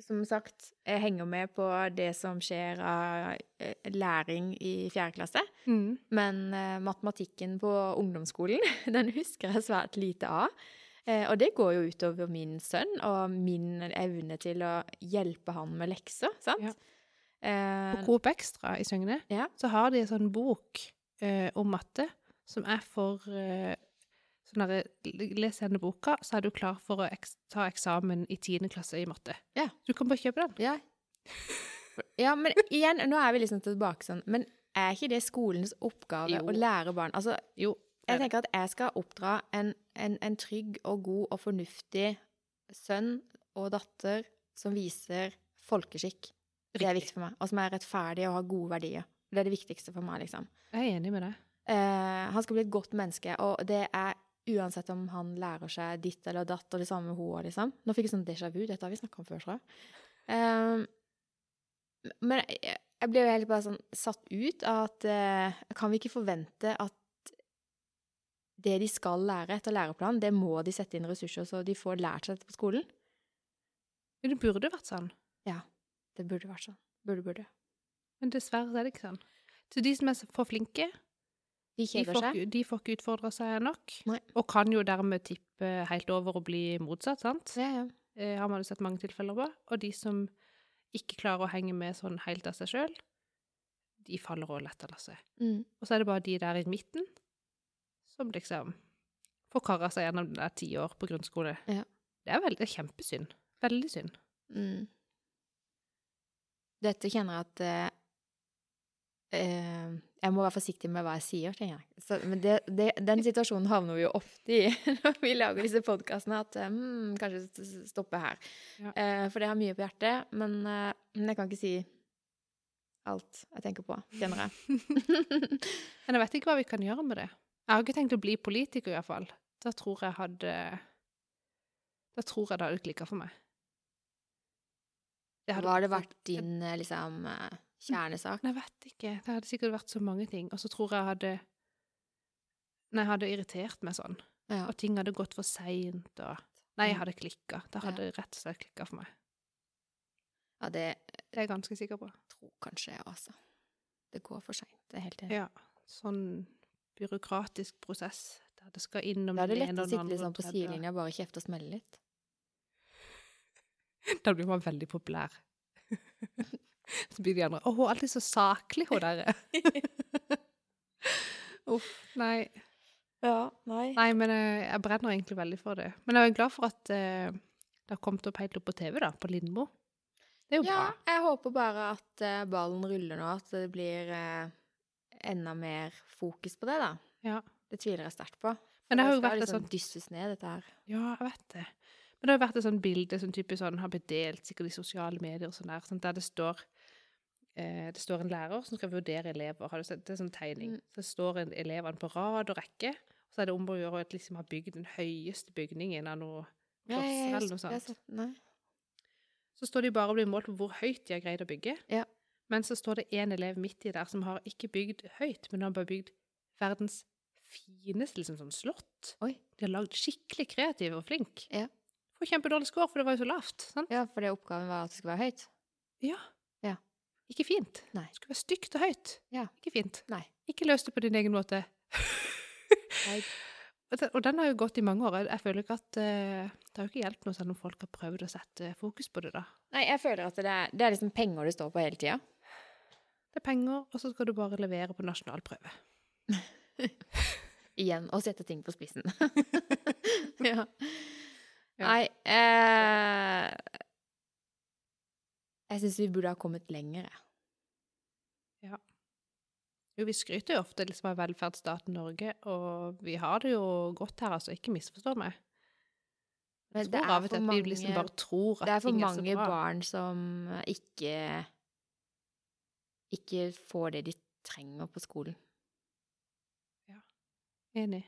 [SPEAKER 2] som sagt, jeg henger med på det som skjer av eh, læring i fjerde klasse.
[SPEAKER 1] mm.
[SPEAKER 2] Men eh, matematikken på ungdomsskolen, den husker jeg svært lite av. Eh, og det går jo utover min sønn og min evne til å hjelpe han med lekser, sant?
[SPEAKER 1] Ja. På
[SPEAKER 2] Eh,
[SPEAKER 1] Coop Extra i Søgne
[SPEAKER 2] Ja.
[SPEAKER 1] så har de en sånn bok eh, om matte som er for eh, sånn derre Les denne boka, så er du klar for å eks ta eksamen i 10. klasse i matte.
[SPEAKER 2] Ja.
[SPEAKER 1] Du kan bare kjøpe den.
[SPEAKER 2] ja. ja, men igjen, nå er vi liksom tilbake sånn, men er ikke det skolens oppgave
[SPEAKER 1] Jo.
[SPEAKER 2] å lære barn? Altså,
[SPEAKER 1] Jo.
[SPEAKER 2] Jeg
[SPEAKER 1] Det er
[SPEAKER 2] tenker at jeg skal oppdra en, en, en trygg og god og fornuftig sønn og datter som viser folkeskikk. Det er viktig for meg. Og som er rettferdig og har gode verdier. Det er det viktigste for meg, liksom.
[SPEAKER 1] Jeg er enig med deg.
[SPEAKER 2] Eh, han skal bli et godt menneske, og det er uansett om han lærer seg ditt eller datt og det samme med henne, liksom. Nå fikk jeg sånn déjà vu, dette har vi snakka om før, tror jeg. Eh, men jeg, jeg ble jo helt bare sånn satt ut av at eh, Kan vi ikke forvente at det de skal lære etter læreplanen, det må de sette inn ressurser så de får lært seg dette på skolen?
[SPEAKER 1] Men det burde vært sånn.
[SPEAKER 2] Det burde vært sånn. Burde, burde.
[SPEAKER 1] Men dessverre så er det ikke sånn. Så de som er så- for flinke,
[SPEAKER 2] De
[SPEAKER 1] de
[SPEAKER 2] kjeder
[SPEAKER 1] får,
[SPEAKER 2] seg.
[SPEAKER 1] ikke- de får ikke utfordra seg nok.
[SPEAKER 2] Nei.
[SPEAKER 1] Og kan jo dermed tippe helt over og bli motsatt, sant?
[SPEAKER 2] Ja, ja.
[SPEAKER 1] Eh, har man jo sett mange tilfeller på. Og de som ikke klarer å henge med sånn helt av seg sjøl, de faller òg lett av lasset.
[SPEAKER 2] Mm.
[SPEAKER 1] Og så er det bare de der i midten som liksom får kara seg gjennom det der ti år på grunnskole.
[SPEAKER 2] Ja.
[SPEAKER 1] Det er, veldig, det er kjempesynd. Veldig synd.
[SPEAKER 2] Mm. Dette kjenner jeg at eh, eh, Jeg må være forsiktig med hva jeg sier, kjenner jeg. Så, men det, det, den situasjonen havner vi jo ofte i når vi lager disse podkastene, at eh, hmm, kanskje s- s- stoppe her.
[SPEAKER 1] Ja.
[SPEAKER 2] Eh, for det har mye på hjertet, men eh, men jeg kan ikke si alt jeg tenker på, kjenner jeg.
[SPEAKER 1] Men jeg vet ikke hva vi kan gjøre med det. Jeg har ikke tenkt å bli politiker, iallfall. Da tror jeg hadde Da tror jeg det hadde klikka for meg. Det
[SPEAKER 2] hva har det vært din eh, liksom, eh, kjernesak?
[SPEAKER 1] Nei, jeg vet ikke. Det hadde sikkert vært så mange ting. Og så tror jeg jeg hadde Nei, jeg hadde irritert meg sånn.
[SPEAKER 2] Ja.
[SPEAKER 1] Og ting hadde gått for seint og Nei, jeg
[SPEAKER 2] Mm.
[SPEAKER 1] hadde klikka. Det hadde rett og slett klikka for meg.
[SPEAKER 2] ja, det
[SPEAKER 1] Det er jeg ganske sikker på.
[SPEAKER 2] tror kanskje jeg, altså. Det går for seint. Det er helt enig.
[SPEAKER 1] Ja. Sånn byråkratisk prosess der det skal innom
[SPEAKER 2] Da er det
[SPEAKER 1] den
[SPEAKER 2] lett
[SPEAKER 1] ene
[SPEAKER 2] å
[SPEAKER 1] og den
[SPEAKER 2] sitte
[SPEAKER 1] andre
[SPEAKER 2] litt
[SPEAKER 1] og
[SPEAKER 2] sånn på
[SPEAKER 1] tredje.
[SPEAKER 2] sidelinja og bare kjefte og smelle litt.
[SPEAKER 1] Da blir man veldig populær. Så blir de andre Å, hun er alltid så saklig, hun der. Uff, nei.
[SPEAKER 2] Ja, nei.
[SPEAKER 1] Nei, men eh, jeg brenner egentlig veldig for det. Men jeg er glad for at eh, det har kommet opp helt opp på TV, da, på Lindmo. Det er jo
[SPEAKER 2] Ja,
[SPEAKER 1] bra.
[SPEAKER 2] jeg håper bare at eh, ballen ruller nå, at det blir eh, enda mer fokus på det, da.
[SPEAKER 1] Ja.
[SPEAKER 2] Det tviler jeg sterkt på.
[SPEAKER 1] Men det har jo
[SPEAKER 2] skal
[SPEAKER 1] vært et
[SPEAKER 2] liksom
[SPEAKER 1] sånt
[SPEAKER 2] dysses ned, dette her.
[SPEAKER 1] Ja, jeg vet det. Men det har jo vært et sånt bilde som typisk sånn har blitt delt sikkert i sosiale medier og sånn der, sant, der det står eh, det står en lærer som skal vurdere elever. Har du sett? Det er en sånn tegning.
[SPEAKER 2] Mm.
[SPEAKER 1] Så står en- elevene på rad og rekke. Og så er det om å gjøre å liksom ha bygd den høyeste bygningen av noe
[SPEAKER 2] Ja, jeg-
[SPEAKER 1] klosser
[SPEAKER 2] jeg
[SPEAKER 1] eller noe
[SPEAKER 2] husker- jeg har
[SPEAKER 1] sånt.
[SPEAKER 2] sett- Nei.
[SPEAKER 1] Så står de bare og blir målt på hvor høyt de har greid å bygge.
[SPEAKER 2] Ja.
[SPEAKER 1] Men så står det én elev midt i der som har ikke bygd høyt, men han har bare bygd verdens fineste liksom, sånn slott.
[SPEAKER 2] Oi.
[SPEAKER 1] De har lagd skikkelig kreativ og flink.
[SPEAKER 2] Ja.
[SPEAKER 1] Får kjempedårlig score, for det var jo så lavt. Sant?
[SPEAKER 2] Ja, fordi oppgaven var at det skulle være høyt.
[SPEAKER 1] Ja.
[SPEAKER 2] Ja.
[SPEAKER 1] Ikke fint.
[SPEAKER 2] Nei.
[SPEAKER 1] Det skulle være stygt og høyt.
[SPEAKER 2] Ja.
[SPEAKER 1] Ikke fint.
[SPEAKER 2] Nei.
[SPEAKER 1] Ikke løs det på din egen måte.
[SPEAKER 2] Nei.
[SPEAKER 1] Og den- Og den har jo gått i mange år. Jeg- Jeg føler ikke at eh, Det har jo ikke hjulpet noe selv om folk har prøvd å sette eh, fokus på det, da.
[SPEAKER 2] Nei, jeg føler at det er, det er liksom penger det står på hele tida.
[SPEAKER 1] Det er penger, og så skal du bare levere på nasjonal prøve.
[SPEAKER 2] Igjen. Å sette ting på spissen. ja.
[SPEAKER 1] Ja.
[SPEAKER 2] Nei eh, Jeg syns vi burde ha kommet lenger, jeg.
[SPEAKER 1] Jo, vi skryter jo ofte liksom, av velferdsstaten Norge, og vi har det jo godt her, altså. Ikke misforstå meg.
[SPEAKER 2] Men
[SPEAKER 1] Jeg tror av og til at vi liksom bare tror
[SPEAKER 2] det er
[SPEAKER 1] at
[SPEAKER 2] for
[SPEAKER 1] ting er så
[SPEAKER 2] mange
[SPEAKER 1] bra.
[SPEAKER 2] barn som ikke ikke får det de trenger på skolen.
[SPEAKER 1] Enig.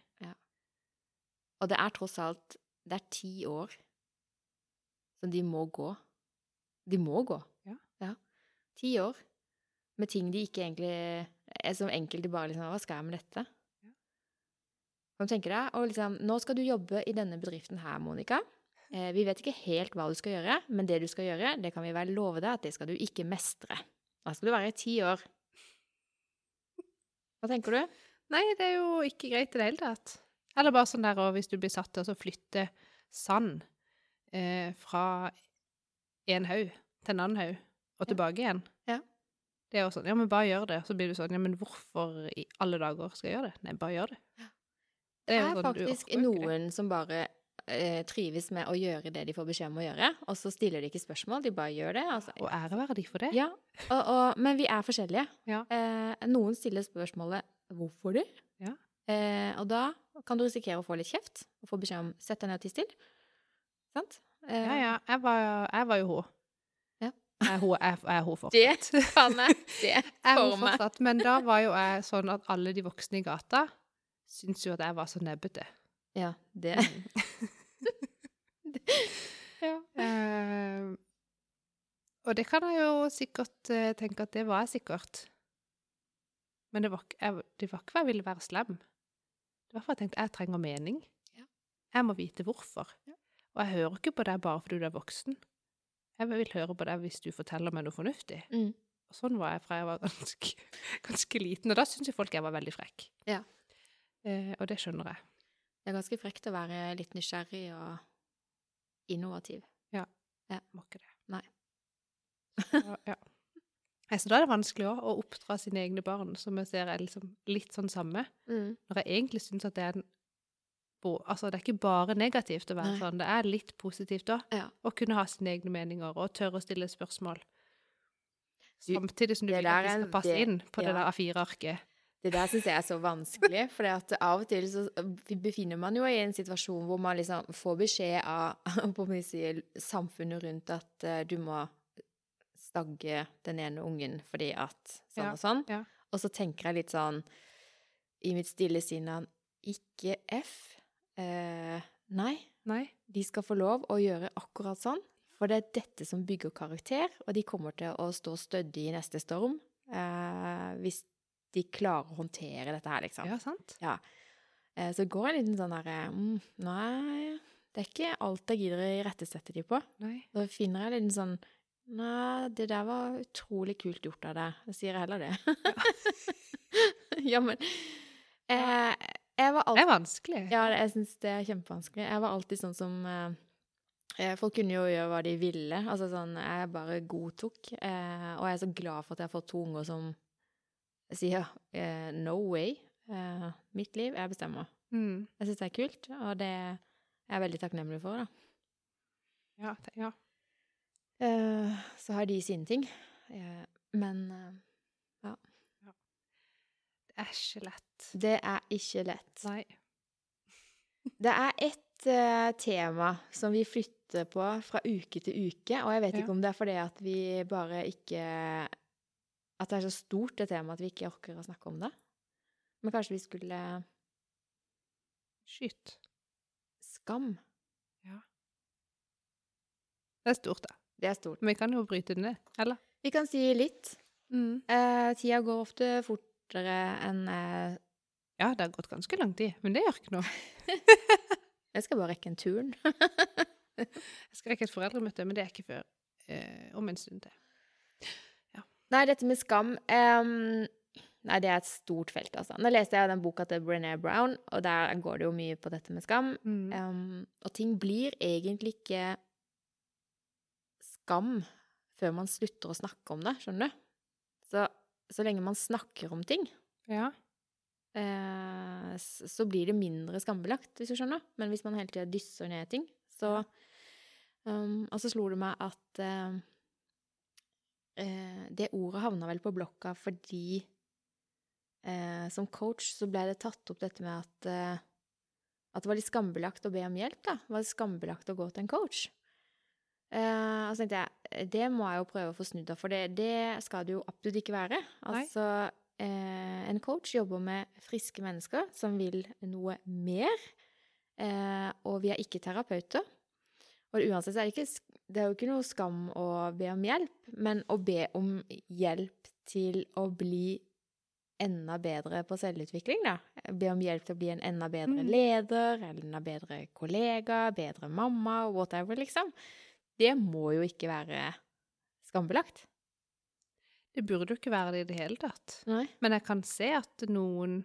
[SPEAKER 2] Og det er tross alt det er ti år som de må gå. De må gå.
[SPEAKER 1] Ja.
[SPEAKER 2] Ti år med ting de ikke egentlig eh, Som enkelte bare liksom Hva skal jeg med dette?
[SPEAKER 1] Ja.
[SPEAKER 2] Kan du tenke deg? Og liksom Nå skal du jobbe i denne bedriften her, Monica. Eh, vi vet ikke helt hva du skal gjøre, men det du skal gjøre, det kan vi vel love deg at det skal du ikke mestre. Da skal du være i ti år. Hva tenker du?
[SPEAKER 1] Nei, det er jo ikke greit i det hele tatt. Eller bare sånn der, og hvis du blir satt til å så flytte sand eh, fra en haug til en annen haug, og
[SPEAKER 2] Ja.
[SPEAKER 1] tilbake igjen.
[SPEAKER 2] Ja.
[SPEAKER 1] Det er jo sånn, ja, men bare gjør det. Så blir du sånn, ja, men hvorfor i alle dager skal jeg gjøre det? Nei, bare gjør det.
[SPEAKER 2] Det
[SPEAKER 1] jo
[SPEAKER 2] er
[SPEAKER 1] sånn, du
[SPEAKER 2] faktisk
[SPEAKER 1] orker jo ikke det.
[SPEAKER 2] noen som bare eh, trives med å gjøre det de får beskjed om å gjøre, og så stiller de ikke spørsmål, de bare gjør det. Altså.
[SPEAKER 1] Og ære være de for det.
[SPEAKER 2] Ja, og, og, men vi er forskjellige.
[SPEAKER 1] Ja.
[SPEAKER 2] Eh, noen stiller spørsmålet 'hvorfor det?'
[SPEAKER 1] Ja.
[SPEAKER 2] Eh, og da kan du risikere å få litt kjeft, og få beskjed om 'sett deg ned og tiss til'. Sant? Eh,
[SPEAKER 1] Ja, ja. Jeg var, jeg var jo hun.
[SPEAKER 2] Ja.
[SPEAKER 1] Jeg er hun, jeg, jeg er hun fortsatt.
[SPEAKER 2] Det faen meg det.
[SPEAKER 1] Jeg er hun
[SPEAKER 2] for meg.
[SPEAKER 1] fortsatt. Men da var jo jeg sånn at alle de voksne i gata syntes jo at jeg var så nebbete.
[SPEAKER 2] Ja, det. Mm. ja.
[SPEAKER 1] Eh, og det kan jeg jo sikkert eh, tenke at det var jeg sikkert. Men det var, ikke- jeg, det var ikke for jeg ville være slem. Det var for jeg tenkte jeg trenger mening.
[SPEAKER 2] Ja.
[SPEAKER 1] Jeg må vite hvorfor.
[SPEAKER 2] Ja.
[SPEAKER 1] Og jeg hører ikke på deg bare fordi du er voksen. Jeg vil høre på deg hvis du forteller meg noe fornuftig.
[SPEAKER 2] Mm.
[SPEAKER 1] Og sånn var jeg fra jeg var ganske, ganske liten. Og da syntes jo folk jeg var veldig frekk.
[SPEAKER 2] Ja.
[SPEAKER 1] Eh, og det skjønner jeg.
[SPEAKER 2] Det er ganske frekt å være litt nysgjerrig og innovativ.
[SPEAKER 1] Må ikke det.
[SPEAKER 2] Nei.
[SPEAKER 1] Så, ja. Nei, Så da er det vanskelig òg å oppdra sine egne barn, som jeg ser er liksom litt sånn samme.
[SPEAKER 2] Mm.
[SPEAKER 1] Når jeg egentlig syns at det er en bo- Altså, det er ikke bare negativt å være
[SPEAKER 2] Nei.
[SPEAKER 1] sånn, det er litt positivt òg.
[SPEAKER 2] Ja.
[SPEAKER 1] Å kunne ha sine egne meninger og tørre å stille spørsmål.
[SPEAKER 2] Du,
[SPEAKER 1] Samtidig som du
[SPEAKER 2] det
[SPEAKER 1] vil at
[SPEAKER 2] der
[SPEAKER 1] de
[SPEAKER 2] er
[SPEAKER 1] skal
[SPEAKER 2] en-
[SPEAKER 1] passe
[SPEAKER 2] det-
[SPEAKER 1] inn på
[SPEAKER 2] ja.
[SPEAKER 1] det der A4-arket.
[SPEAKER 2] Det der syns jeg er så vanskelig, for av og til så befinner man jo i en situasjon hvor man liksom får beskjed av på en måte si, samfunnet rundt at eh, du må stagge den ene ungen fordi at sånn
[SPEAKER 1] Ja,
[SPEAKER 2] og sånn.
[SPEAKER 1] ja.
[SPEAKER 2] Og så tenker jeg litt sånn i mitt stille sinn at ikke F. Eh, nei,
[SPEAKER 1] Nei.
[SPEAKER 2] de skal få lov å gjøre akkurat sånn, for det er dette som bygger karakter, og de kommer til å stå stødig i neste storm eh, hvis de klarer å håndtere dette her, liksom.
[SPEAKER 1] Ja, sant?
[SPEAKER 2] Eh, så det går en liten sånn derre mm, Nei, det er ikke alt jeg gidder å irettesette de på.
[SPEAKER 1] Nei.
[SPEAKER 2] Da finner jeg en liten sånn Nei, det der var utrolig kult gjort av deg. Da sier jeg heller det. ja, men eh, Jeg var alltid
[SPEAKER 1] Det er vanskelig.
[SPEAKER 2] ja, det- jeg syns det er kjempevanskelig. Jeg var alltid sånn som eh, eh, Folk kunne jo gjøre hva de ville. Altså sånn Jeg bare godtok. Eh, og jeg er så glad for at jeg har fått to unger som sier eh, no way. Eh, mitt liv, jeg bestemmer.
[SPEAKER 1] Mm.
[SPEAKER 2] Jeg syns det er kult, og det er jeg veldig takknemlig for, da.
[SPEAKER 1] Ja, te- ja.
[SPEAKER 2] Eh, så har de sine ting. Eh, men eh,
[SPEAKER 1] Det er ikke lett.
[SPEAKER 2] det er ikke lett.
[SPEAKER 1] Nei.
[SPEAKER 2] Det er ett eh, tema som vi flytter på fra uke til uke, og jeg vet
[SPEAKER 1] Ja.
[SPEAKER 2] ikke om det er fordi at vi bare ikke At det er så stort det temaet at vi ikke orker å snakke om det. Men kanskje vi skulle
[SPEAKER 1] Skyt.
[SPEAKER 2] Skam.
[SPEAKER 1] Det er stort, da.
[SPEAKER 2] Det er stort.
[SPEAKER 1] Men vi kan jo bryte det ned, eller?
[SPEAKER 2] Vi kan si litt. Eh, tida går ofte fortere enn eh,
[SPEAKER 1] Ja, det har gått ganske lang tid, men det gjør ikke noe.
[SPEAKER 2] Jeg skal bare rekke en turn.
[SPEAKER 1] Jeg skal rekke et foreldremøte, men det er ikke før eh, om en stund til.
[SPEAKER 2] Nei, dette med skam ehm, Nei, det er et stort felt, altså. Nå leste jeg den boka til Brené Brown, og der går det jo mye på dette med skam.
[SPEAKER 1] Ja.
[SPEAKER 2] Ehm, og ting blir egentlig ikke skam før man slutter å snakke om det, skjønner du? Så, så lenge man snakker om ting,
[SPEAKER 1] ja.
[SPEAKER 2] eh, s- så blir det mindre skambelagt, hvis du skjønner. Men hvis man hele tida dysser ned ting, så um, Og så slo det meg at eh, eh, det ordet havna vel på blokka fordi eh, som coach så ble det tatt opp dette med at eh, at det var litt skambelagt å be om hjelp, da. Det var skambelagt å gå til en coach. Eh, og så tenkte jeg, det må jeg jo prøve å få snudd av, for det, det skal det jo absolutt ikke være.
[SPEAKER 1] Nei.
[SPEAKER 2] Altså, eh, en coach jobber med friske mennesker som vil noe mer, eh, og vi er ikke terapeuter. Og uansett så er det ikke, sk- det er jo ikke noe skam å be om hjelp, men å be om hjelp til å bli enda bedre på selvutvikling, da. Be om hjelp til å bli en enda bedre
[SPEAKER 1] Mm.
[SPEAKER 2] leder, eller enda bedre kollega, bedre mamma, whatever, liksom. Det må jo ikke være skambelagt.
[SPEAKER 1] Det burde jo ikke være det i det hele tatt.
[SPEAKER 2] Nei.
[SPEAKER 1] Men jeg kan se at noen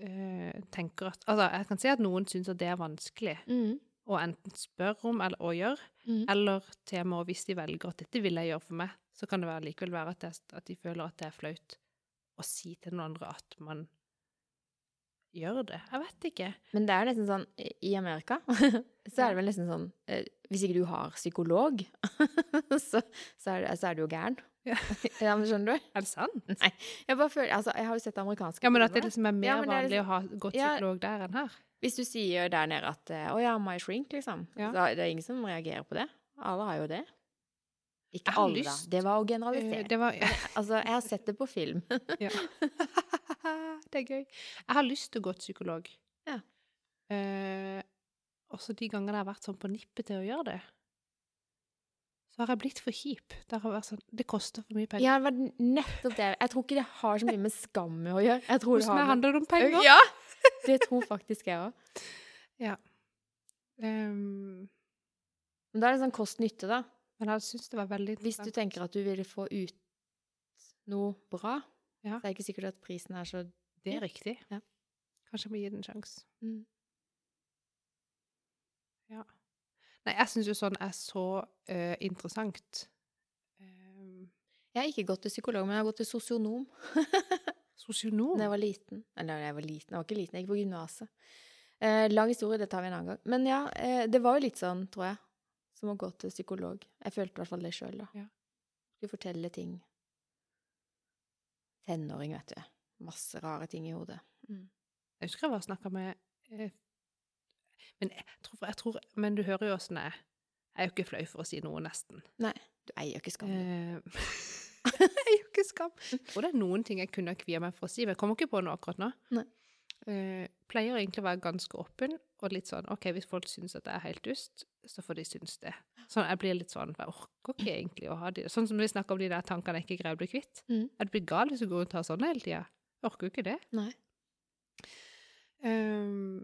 [SPEAKER 1] eh, tenker at Altså, jeg kan se at noen syns at det er vanskelig
[SPEAKER 2] Mm.
[SPEAKER 1] å enten spørre om eller å gjøre,
[SPEAKER 2] Mm.
[SPEAKER 1] eller til og med hvis de velger at 'dette vil jeg gjøre for meg', så kan det være, likevel være at, det, at de føler at det er flaut å si til noen andre at man gjør det. Jeg vet ikke.
[SPEAKER 2] Men det er jo nesten sånn i- I Amerika så er det vel nesten sånn eh, Hvis ikke du har psykolog, så, så, er, det- så er du jo gæren.
[SPEAKER 1] Ja.
[SPEAKER 2] Ja, men skjønner du?
[SPEAKER 1] Er det sant?
[SPEAKER 2] Jeg bare føler, altså, jeg har jo sett amerikanske
[SPEAKER 1] Ja, men at det
[SPEAKER 2] filmer.
[SPEAKER 1] liksom er mer
[SPEAKER 2] Mm. Ja, men det
[SPEAKER 1] vanlig
[SPEAKER 2] er
[SPEAKER 1] å ha godt
[SPEAKER 2] Ja.
[SPEAKER 1] psykolog der enn her.
[SPEAKER 2] Hvis du sier der nede at eh, 'Å ja, my shrink', liksom.
[SPEAKER 1] Ja.
[SPEAKER 2] Så er det ingen som reagerer på det. Alle har jo det.
[SPEAKER 1] Jeg
[SPEAKER 2] Ikke
[SPEAKER 1] har
[SPEAKER 2] alle, da.
[SPEAKER 1] lyst.
[SPEAKER 2] Det var å
[SPEAKER 1] Eh,
[SPEAKER 2] generalisere.
[SPEAKER 1] Det var
[SPEAKER 2] Altså, jeg har sett det på film.
[SPEAKER 1] Ja. det er gøy. Jeg har lyst til å gå til psykolog.
[SPEAKER 2] Ja.
[SPEAKER 1] Eh, også de gangene jeg har vært sånn på nippet til å gjøre det, så har jeg blitt for kjip. Der har jeg vært sånn Det koster for mye penger.
[SPEAKER 2] Ja, det var nettopp det. Jeg tror ikke det har så mye med skam å gjøre. Jeg tror
[SPEAKER 1] Hos
[SPEAKER 2] det har
[SPEAKER 1] meg
[SPEAKER 2] med
[SPEAKER 1] handler det om penger.
[SPEAKER 2] Ja! Det tror faktisk jeg òg.
[SPEAKER 1] Ehm,
[SPEAKER 2] Men da er det sånn kost-nytte, da.
[SPEAKER 1] men jeg syns det var veldig
[SPEAKER 2] Hvis du tenker at du vil få ut noe bra,
[SPEAKER 1] Ja.
[SPEAKER 2] så er det ikke sikkert at prisen er så
[SPEAKER 1] Det er riktig.
[SPEAKER 2] Ja.
[SPEAKER 1] Kanskje jeg må gi det en sjanse.
[SPEAKER 2] Mm.
[SPEAKER 1] Ja. Nei, jeg syns jo sånn er så eh, interessant. Ehm,
[SPEAKER 2] Jeg har ikke gått til psykolog, men jeg har gått til sosionom
[SPEAKER 1] Sosionom.
[SPEAKER 2] da jeg var liten. Eller da jeg var liten, jeg var ikke liten, jeg gikk på gymnaset. Eh, lang historie, det tar vi en annen gang. Men ja, eh, det var jo litt sånn, tror jeg, som å gå til psykolog. Jeg følte i hvert fall det sjøl, da.
[SPEAKER 1] Ja.
[SPEAKER 2] Du forteller ting. Tenåring, vet du. Masse rare ting i hodet.
[SPEAKER 1] Jeg husker jeg var og snakka med eh, men, jeg tror, jeg tror, men du hører jo åssen jeg er. Jeg er jo ikke flau for å si noe, nesten.
[SPEAKER 2] Du eier jo ikke skam.
[SPEAKER 1] Eh, jeg er jo ikke skam. Jeg tror det er noen ting jeg kunne ha kvia meg for å si, men jeg kommer ikke på noe akkurat nå.
[SPEAKER 2] Nei.
[SPEAKER 1] Eh, pleier egentlig å være ganske åpen og litt sånn OK, hvis folk syns at jeg er helt dust, så får de synes det. Sånn, Jeg blir litt sånn Jeg orker ikke egentlig å ha de Sånn som vi snakker om de der tankene jeg ikke greier å bli kvitt.
[SPEAKER 2] Mm.
[SPEAKER 1] Jeg blir gal hvis du går rundt og har sånne hele tida. Jeg orker jo ikke det.
[SPEAKER 2] Nei.
[SPEAKER 1] Ehm,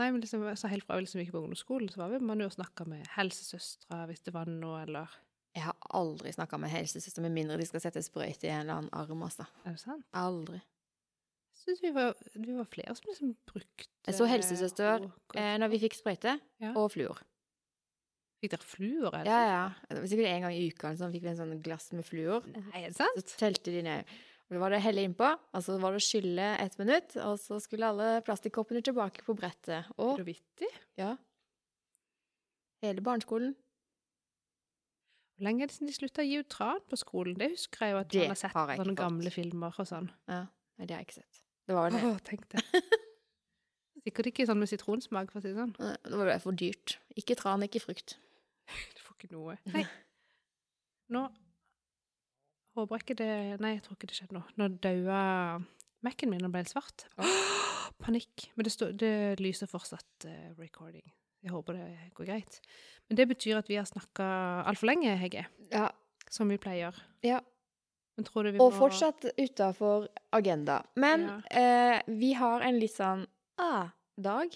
[SPEAKER 1] nei, men liksom, så helt fra vi liksom gikk på ungdomsskolen, så var vi man jo og snakka med helsesøstra hvis det var noe, eller
[SPEAKER 2] Jeg har aldri snakka med helsesøster med mindre de skal sette sprøyte i en eller annen arm, altså.
[SPEAKER 1] Er det sant?
[SPEAKER 2] Aldri.
[SPEAKER 1] Jeg syns vi, var- vi var flere som liksom brukte
[SPEAKER 2] Jeg så helsesøster,
[SPEAKER 1] og-
[SPEAKER 2] Eh, når vi fikk sprøyte
[SPEAKER 1] Ja.
[SPEAKER 2] og fluor.
[SPEAKER 1] Fikk dere fluer?
[SPEAKER 2] Ja, ja. Det var Sikkert en gang i uka eller sånn, fikk vi en sånn glass med fluor.
[SPEAKER 1] Nei, er det sant?
[SPEAKER 2] Så telte de ned. Og Det var det å helle innpå, og så var det å skylle ett minutt, og så skulle alle plastikkoppene tilbake på brettet. Og
[SPEAKER 1] Er du vittig?
[SPEAKER 2] ja Hele barneskolen.
[SPEAKER 1] Hvor lenge er det siden de slutta å gi ut tran på skolen? Det husker jeg jo at
[SPEAKER 2] Det
[SPEAKER 1] man har sett
[SPEAKER 2] har jeg
[SPEAKER 1] på
[SPEAKER 2] ikke
[SPEAKER 1] sånne
[SPEAKER 2] fått.
[SPEAKER 1] gamle filmer og sånn.
[SPEAKER 2] Nei, det har jeg ikke sett. Det var vel det.
[SPEAKER 1] Åh, tenk det. Sikkert ikke sånn med sitronsmak, for å si det sånn.
[SPEAKER 2] Nei, Det var vel for dyrt. Ikke tran, ikke frukt.
[SPEAKER 1] Du får ikke noe. Nei. Nå håper jeg ikke det Nei, jeg tror ikke det skjedde nå. Nå daua Mac-en min og ble helt svart. Panikk. Men det, står- det lyser fortsatt eh, recording. Jeg håper det går greit. Men det betyr at vi har snakka altfor lenge, Hege.
[SPEAKER 2] Ja.
[SPEAKER 1] Som vi pleier.
[SPEAKER 2] ja.
[SPEAKER 1] Men tror du vi
[SPEAKER 2] Og
[SPEAKER 1] må
[SPEAKER 2] fortsatt utafor agenda. Men eh, vi har en litt sånn ah-dag,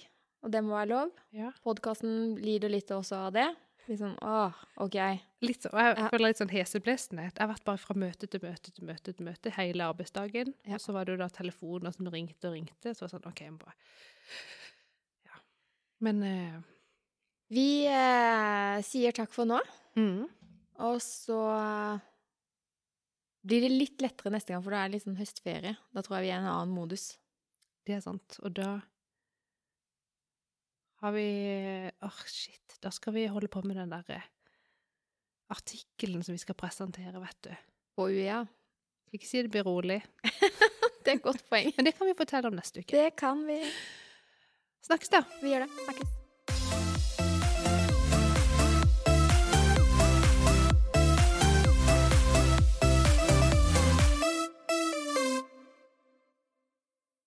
[SPEAKER 2] og det må være lov.
[SPEAKER 1] Ja.
[SPEAKER 2] Podkasten lider litt også av det. Litt sånn ah, OK.
[SPEAKER 1] Litt sånn, og jeg
[SPEAKER 2] Ja.
[SPEAKER 1] føler litt sånn heseblesende. Jeg har vært bare fra møte til møte til møte til møte hele arbeidsdagen.
[SPEAKER 2] Ja.
[SPEAKER 1] Og så var det jo da telefoner som ringte og ringte. Så var det sånn, ok, jeg må bare... Ja. Men... eh,
[SPEAKER 2] Vi eh, sier takk for nå,
[SPEAKER 1] mm.
[SPEAKER 2] og så blir det litt lettere neste gang, for da er det litt sånn høstferie. Da tror jeg vi er i en annen modus.
[SPEAKER 1] Det er sant. Og da har vi Åh, shit. Da skal vi holde på med den derre artikkelen som vi skal presentere, vet du.
[SPEAKER 2] På UiA.
[SPEAKER 1] Skal ikke si det blir rolig.
[SPEAKER 2] Det er et godt poeng.
[SPEAKER 1] Men det kan vi fortelle om neste uke.
[SPEAKER 2] Det kan vi.
[SPEAKER 1] Snakkes, da.
[SPEAKER 2] Vi gjør det. Snakkes.